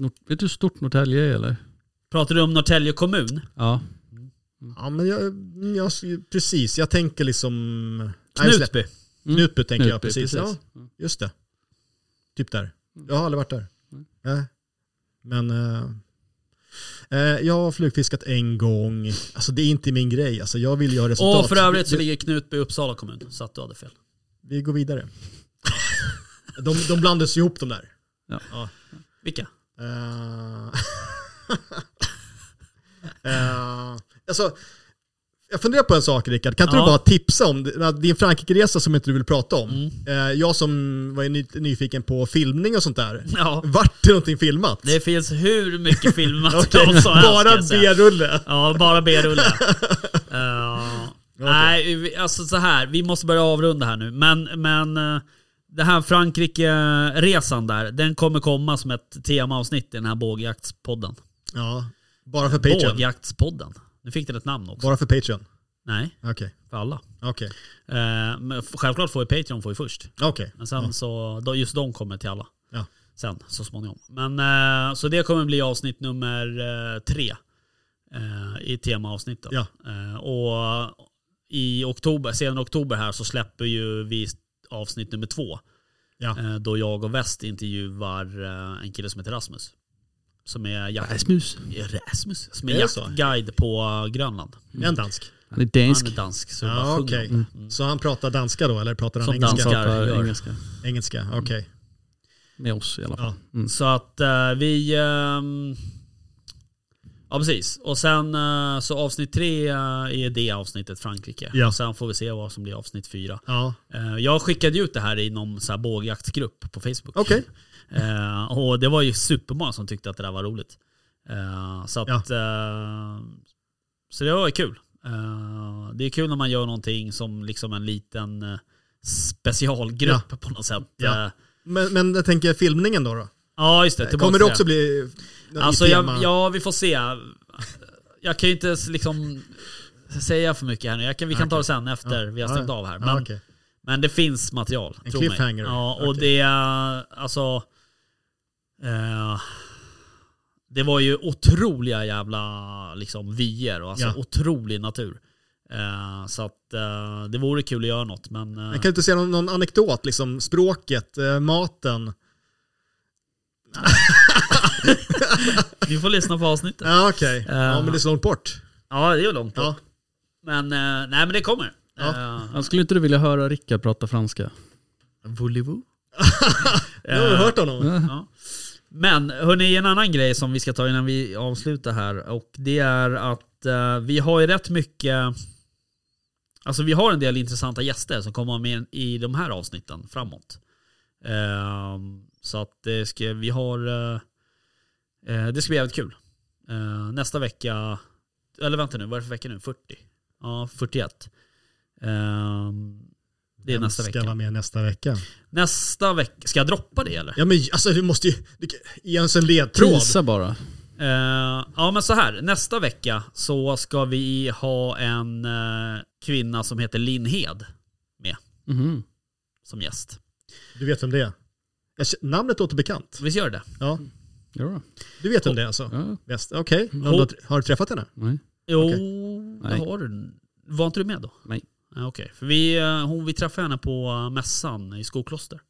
S4: Nor- vet du hur stort Norrtälje är eller?
S3: Pratar du om Norrtälje kommun?
S4: Ja.
S5: Ja, men jag, jag, precis. Jag tänker liksom... Nej, släpp.
S3: Knutby.
S4: Mm.
S5: Knutby tänker jag
S4: Knutby,
S5: precis. Ja, just det. Typ där. Jag har aldrig varit där.
S3: Mm.
S5: Nej. Men eh, eh, jag har flugfiskat en gång. Alltså det är inte min grej. Alltså, jag vill ju ha resultat.
S3: Och för övrigt så
S5: vi,
S3: ligger Knutby i Uppsala kommun. Så att du hade fel.
S5: vi går vidare. de, de blandas ihop de där.
S3: Vilka?
S5: Eh, eh, alltså, jag funderar på en sak Rickard. Kan inte
S3: Ja.
S5: du bara tipsa om det- din Frankrike-resa som inte du vill prata om?
S3: Mm.
S5: Eh, jag som var ny, nyfiken på filmning och sånt där.
S3: Ja.
S5: Vart det någonting filmat?
S3: Det finns hur mycket
S5: Okej,
S3: filmmaterial som helst. ska
S5: Bara
S3: jag säga.
S5: B-rulle.
S3: Ja, bara B-rulle. Eh, Nej, vi- alltså så här. Vi måste börja avrunda här nu. Men, men eh, det här Frankrike-resan där, den kommer komma som ett temaavsnitt i den här bågjaktspodden.
S5: Ja, bara för Patreon.
S3: Bågjaktspodden. Nu fick den ett namn också.
S5: Bara för Patreon.
S3: Nej,
S5: Okej,
S3: för alla.
S5: okej,
S3: Eh, men f- självklart får ju Patreon får ju först.
S5: okej.
S3: Men sen så, då, just de kommer till alla.
S5: Ja.
S3: Sen så småningom. Men eh, så det kommer bli avsnitt nummer eh, tre. Eh, I temaavsnittet.
S5: Ja.
S3: Eh, och i oktober, senare oktober här så släpper ju vi avsnitt nummer två.
S5: Ja.
S3: Eh, då jag och Väst intervjuar eh, en kille som heter Rasmus. Som är jakt...
S4: Rasmus.
S3: Rasmus? Som är
S5: Är det så?
S3: jaktguide på Grönland.
S5: Är En dansk.
S4: Han är dansk.
S3: Han är dansk så jag
S5: Ja,
S3: Mm. bara
S5: okej.
S3: sjunger om det.
S5: Så han pratar danska då, eller pratar han
S3: Som
S5: engelska?
S3: danskar
S4: pratar
S3: gör.
S4: engelska.
S5: Engelska, okej.
S4: Med oss i alla fall.
S3: Så att eh, vi... ehm, ja precis. Och sen eh, så avsnitt tre eh, är det avsnittet Frankrike.
S5: Ja.
S3: Och sen får vi se vad som blir avsnitt fyra.
S5: Ja,
S3: Eh, jag skickade ju ut det här i någon så här bågjaktsgrupp på Facebook.
S5: Okej.
S3: Eh, och det var ju supermånga som tyckte att det där var roligt. Eh, så att... Eh, så det var ju kul. Eh, det är kul när man gör någonting som liksom en liten eh, specialgrupp på något sätt.
S5: Ja.
S3: Eh,
S5: men, men jag tänker filmningen då? då?
S3: ja just det. tillbaka
S5: Kommer
S3: till
S5: det också bli i
S3: Alltså
S5: tema?
S3: jag, ja, vi får se. Jag kan ju inte s- liksom säga för mycket här nu. Jag kan, vi
S5: Ah,
S3: kan ta det sen efter vi har stängt av här.
S5: Ja,
S3: Men,
S5: ah, okej.
S3: men det finns material.
S5: En
S3: tro mig.
S5: cliffhanger.
S3: Ja, och
S5: Okej.
S3: det är alltså... Eh, det var ju otroliga jävla liksom, vyer och alltså
S5: Ja.
S3: otrolig natur. Eh, så att eh, det vore kul att göra något men... Eh,
S5: Men kan du inte säga någon, någon anekdot, liksom språket, eh, maten?
S3: Ni får lyssna på avsnittet.
S5: Ja, okej. Ja,
S3: Eh,
S5: men det är så långt bort.
S3: Ja, det är ju långt
S5: Ja.
S3: bort. Men eh, nej men det kommer.
S5: Ja.
S3: Eh,
S4: Han Alltså, skulle inte du vilja höra Rickard prata franska?
S3: Voulez-vous?
S5: Jag
S3: eh,
S5: har hört honom.
S3: Ja. Men hörni, en annan grej som vi ska ta innan vi avslutar här och det är att eh, vi har ju rätt mycket Alltså vi har en del intressanta gäster som kommer med i de här avsnitten framåt. Ehm, så att det ska, vi har eh, eh, Det ska bli jävligt kul. Eh, nästa vecka Eller vänta nu, vad är det för vecka nu? 40? Ja, 41. Ehm, det är nästa
S5: Ska vara
S3: vecka.
S5: med nästa vecka.
S3: Nästa vecka, ska jag droppa det eller?
S5: Ja men alltså du måste ju, du, kan- ge oss en ledtråd.
S4: Tisa bara.
S3: Eh, ja men så här, nästa vecka så ska vi ha en eh, kvinna som heter Linn Hed med
S4: Mhm.
S3: som gäst.
S5: Du vet vem det är? Jag, känner- namnet låter bekant.
S3: Visst gör det?
S5: Ja,
S4: Ja, då.
S5: du vet vem det är alltså?
S4: ja.
S5: Bäst. Okej, Har
S3: Hon-
S5: du har- har du träffat henne?
S4: Nej.
S3: Jo,
S4: Nej.
S3: det har du. Var inte du med då?
S4: Nej.
S3: Uh, Okej, för vi, eh, hon, vi träffade henne på eh, mässan i Skokloster.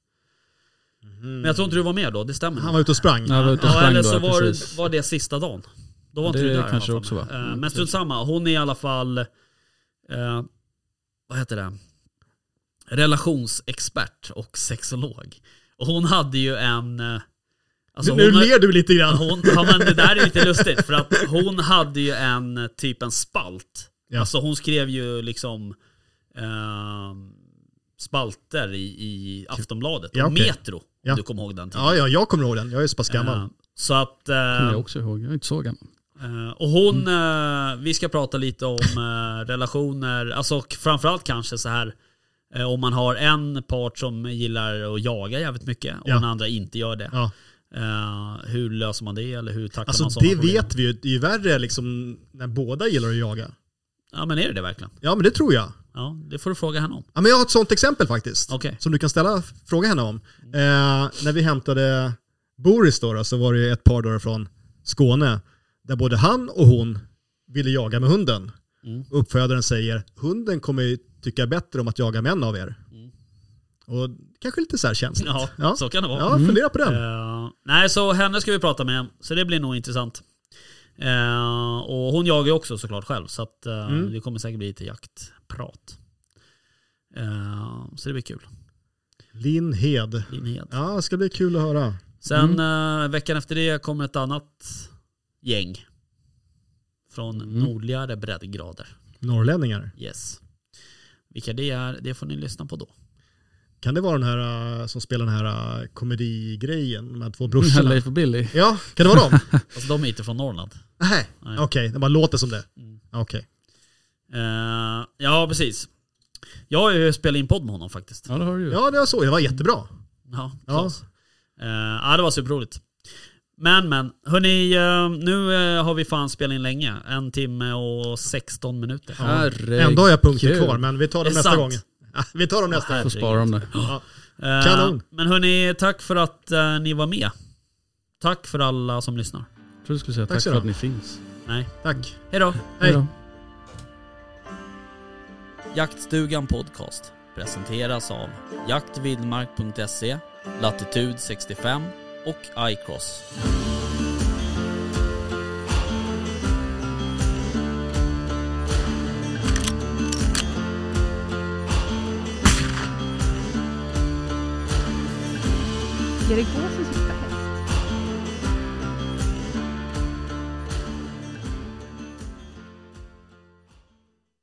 S4: Mhm.
S3: Men jag tror inte du var med då, det stämmer.
S5: Han
S3: nog.
S5: var ute och sprang.
S4: Jag var ute och
S3: ja,
S4: sprang
S3: eller
S4: då,
S3: så
S4: ja,
S3: var,
S4: precis.
S3: var det sista dagen. Då var
S4: Det
S3: inte du där. i
S4: kanske
S3: alla
S4: också
S3: fall.
S4: var.
S3: Eh,
S4: Mm,
S3: Men strunt samma, hon är i alla fall, eh, vad heter det, relationsexpert och sexolog. Och hon hade ju en... eh, Alltså
S5: nu
S3: hon,
S5: ler du lite grann.
S3: hon, ja, men det där är lite lustigt för att hon hade ju en eh, typ en spalt.
S5: Ja.
S3: Alltså hon skrev ju liksom eh, spalter i, i Aftonbladet.
S5: Ja,
S3: och
S5: okej.
S3: Metro, om
S5: Ja.
S3: du kommer ihåg den tiden.
S5: Ja, ja, jag kommer ihåg den. Jag är så pass gammal.
S3: Eh, Så att... eh,
S4: kommer jag också ihåg. Jag är inte så gammal.
S3: Eh, Och hon,
S5: Mm.
S3: eh, vi ska prata lite om eh, relationer, alltså och framförallt kanske så här eh, om man har en part som gillar att jaga jävligt mycket och
S5: Ja.
S3: den andra inte gör det.
S5: Ja.
S3: Eh, hur löser man det eller hur tacklar
S5: Alltså
S3: man sådana
S5: det
S3: problem?
S5: vet vi ju, det är ju värre liksom när båda gillar att jaga.
S3: Ja men är det det verkligen?
S5: Ja men det tror jag.
S3: Ja, det får du fråga henne om.
S5: Ja, men jag har ett sånt exempel faktiskt.
S3: Okej.
S5: Som du kan ställa fråga henne om. Eh, när vi hämtade Boris då, då så var det ju ett par då från Skåne. Där både han och hon ville jaga med hunden.
S3: Mm.
S5: Uppfödaren säger, hunden kommer ju tycka bättre om att jaga män av er. Och kanske lite så här känsligt.
S3: Mm. Ja,
S5: ja.
S3: så kan det vara.
S5: Ja, fundera på den.
S3: Eh, nej, så henne ska vi prata med, så det blir nog intressant. Eh, och hon jagar ju också såklart själv, så att, eh, det kommer säkert bli lite jaktprat. Eh, så det blir kul.
S5: Linn Hed.
S3: Linhed.
S5: Ja, det ska bli kul att höra.
S3: Sen eh, veckan efter det kommer ett annat gäng. Från nordligare breddgrader.
S5: Norrlänningar.
S3: Yes. Vilka det är, det får ni lyssna på då.
S5: Kan det vara den här eh, som spelar den här eh, komedigrejen? De här två
S4: Den här
S5: brorsorna?
S4: Leif och Billy.
S5: Ja, kan det vara dem?
S3: Alltså de är inte från Norrland.
S5: Nej,
S3: Nej. Mm.
S5: okej, det bara låter som det. Okej.
S3: Eh, ja, precis. Jag har ju spelat in podd med honom faktiskt.
S4: Ja, det har du ju.
S5: Ja, det var så. Det var jättebra.
S3: Ja,
S5: Ja.
S3: Klas. Ja. ja, det var superroligt. Men men, hörni, eh, nu eh, har vi fan spelat in länge. En timme och 16 minuter.
S4: Herregud.
S5: Ändå har jag punkter kvar, men vi tar dem
S3: Det är
S5: nästa
S3: sant.
S5: gång. Ja, vi tar dem nästa gång.
S4: Får spara om det.
S5: Ja.
S3: Eh,
S5: Kanon.
S3: Men hörni, tack för att eh, ni var med. Tack för alla som lyssnar.
S4: Jag tror du skulle säga
S5: Tack
S4: tack
S5: så
S4: för
S5: du
S4: att
S5: ha.
S4: ni finns.
S3: Nej.
S5: Tack.
S3: Hej då.
S5: Hej.
S4: Hejdå.
S3: Jaktstugan Podcast presenteras av jaktvildmark.se, Latitude 65 och iCross.
S2: Ska det gå så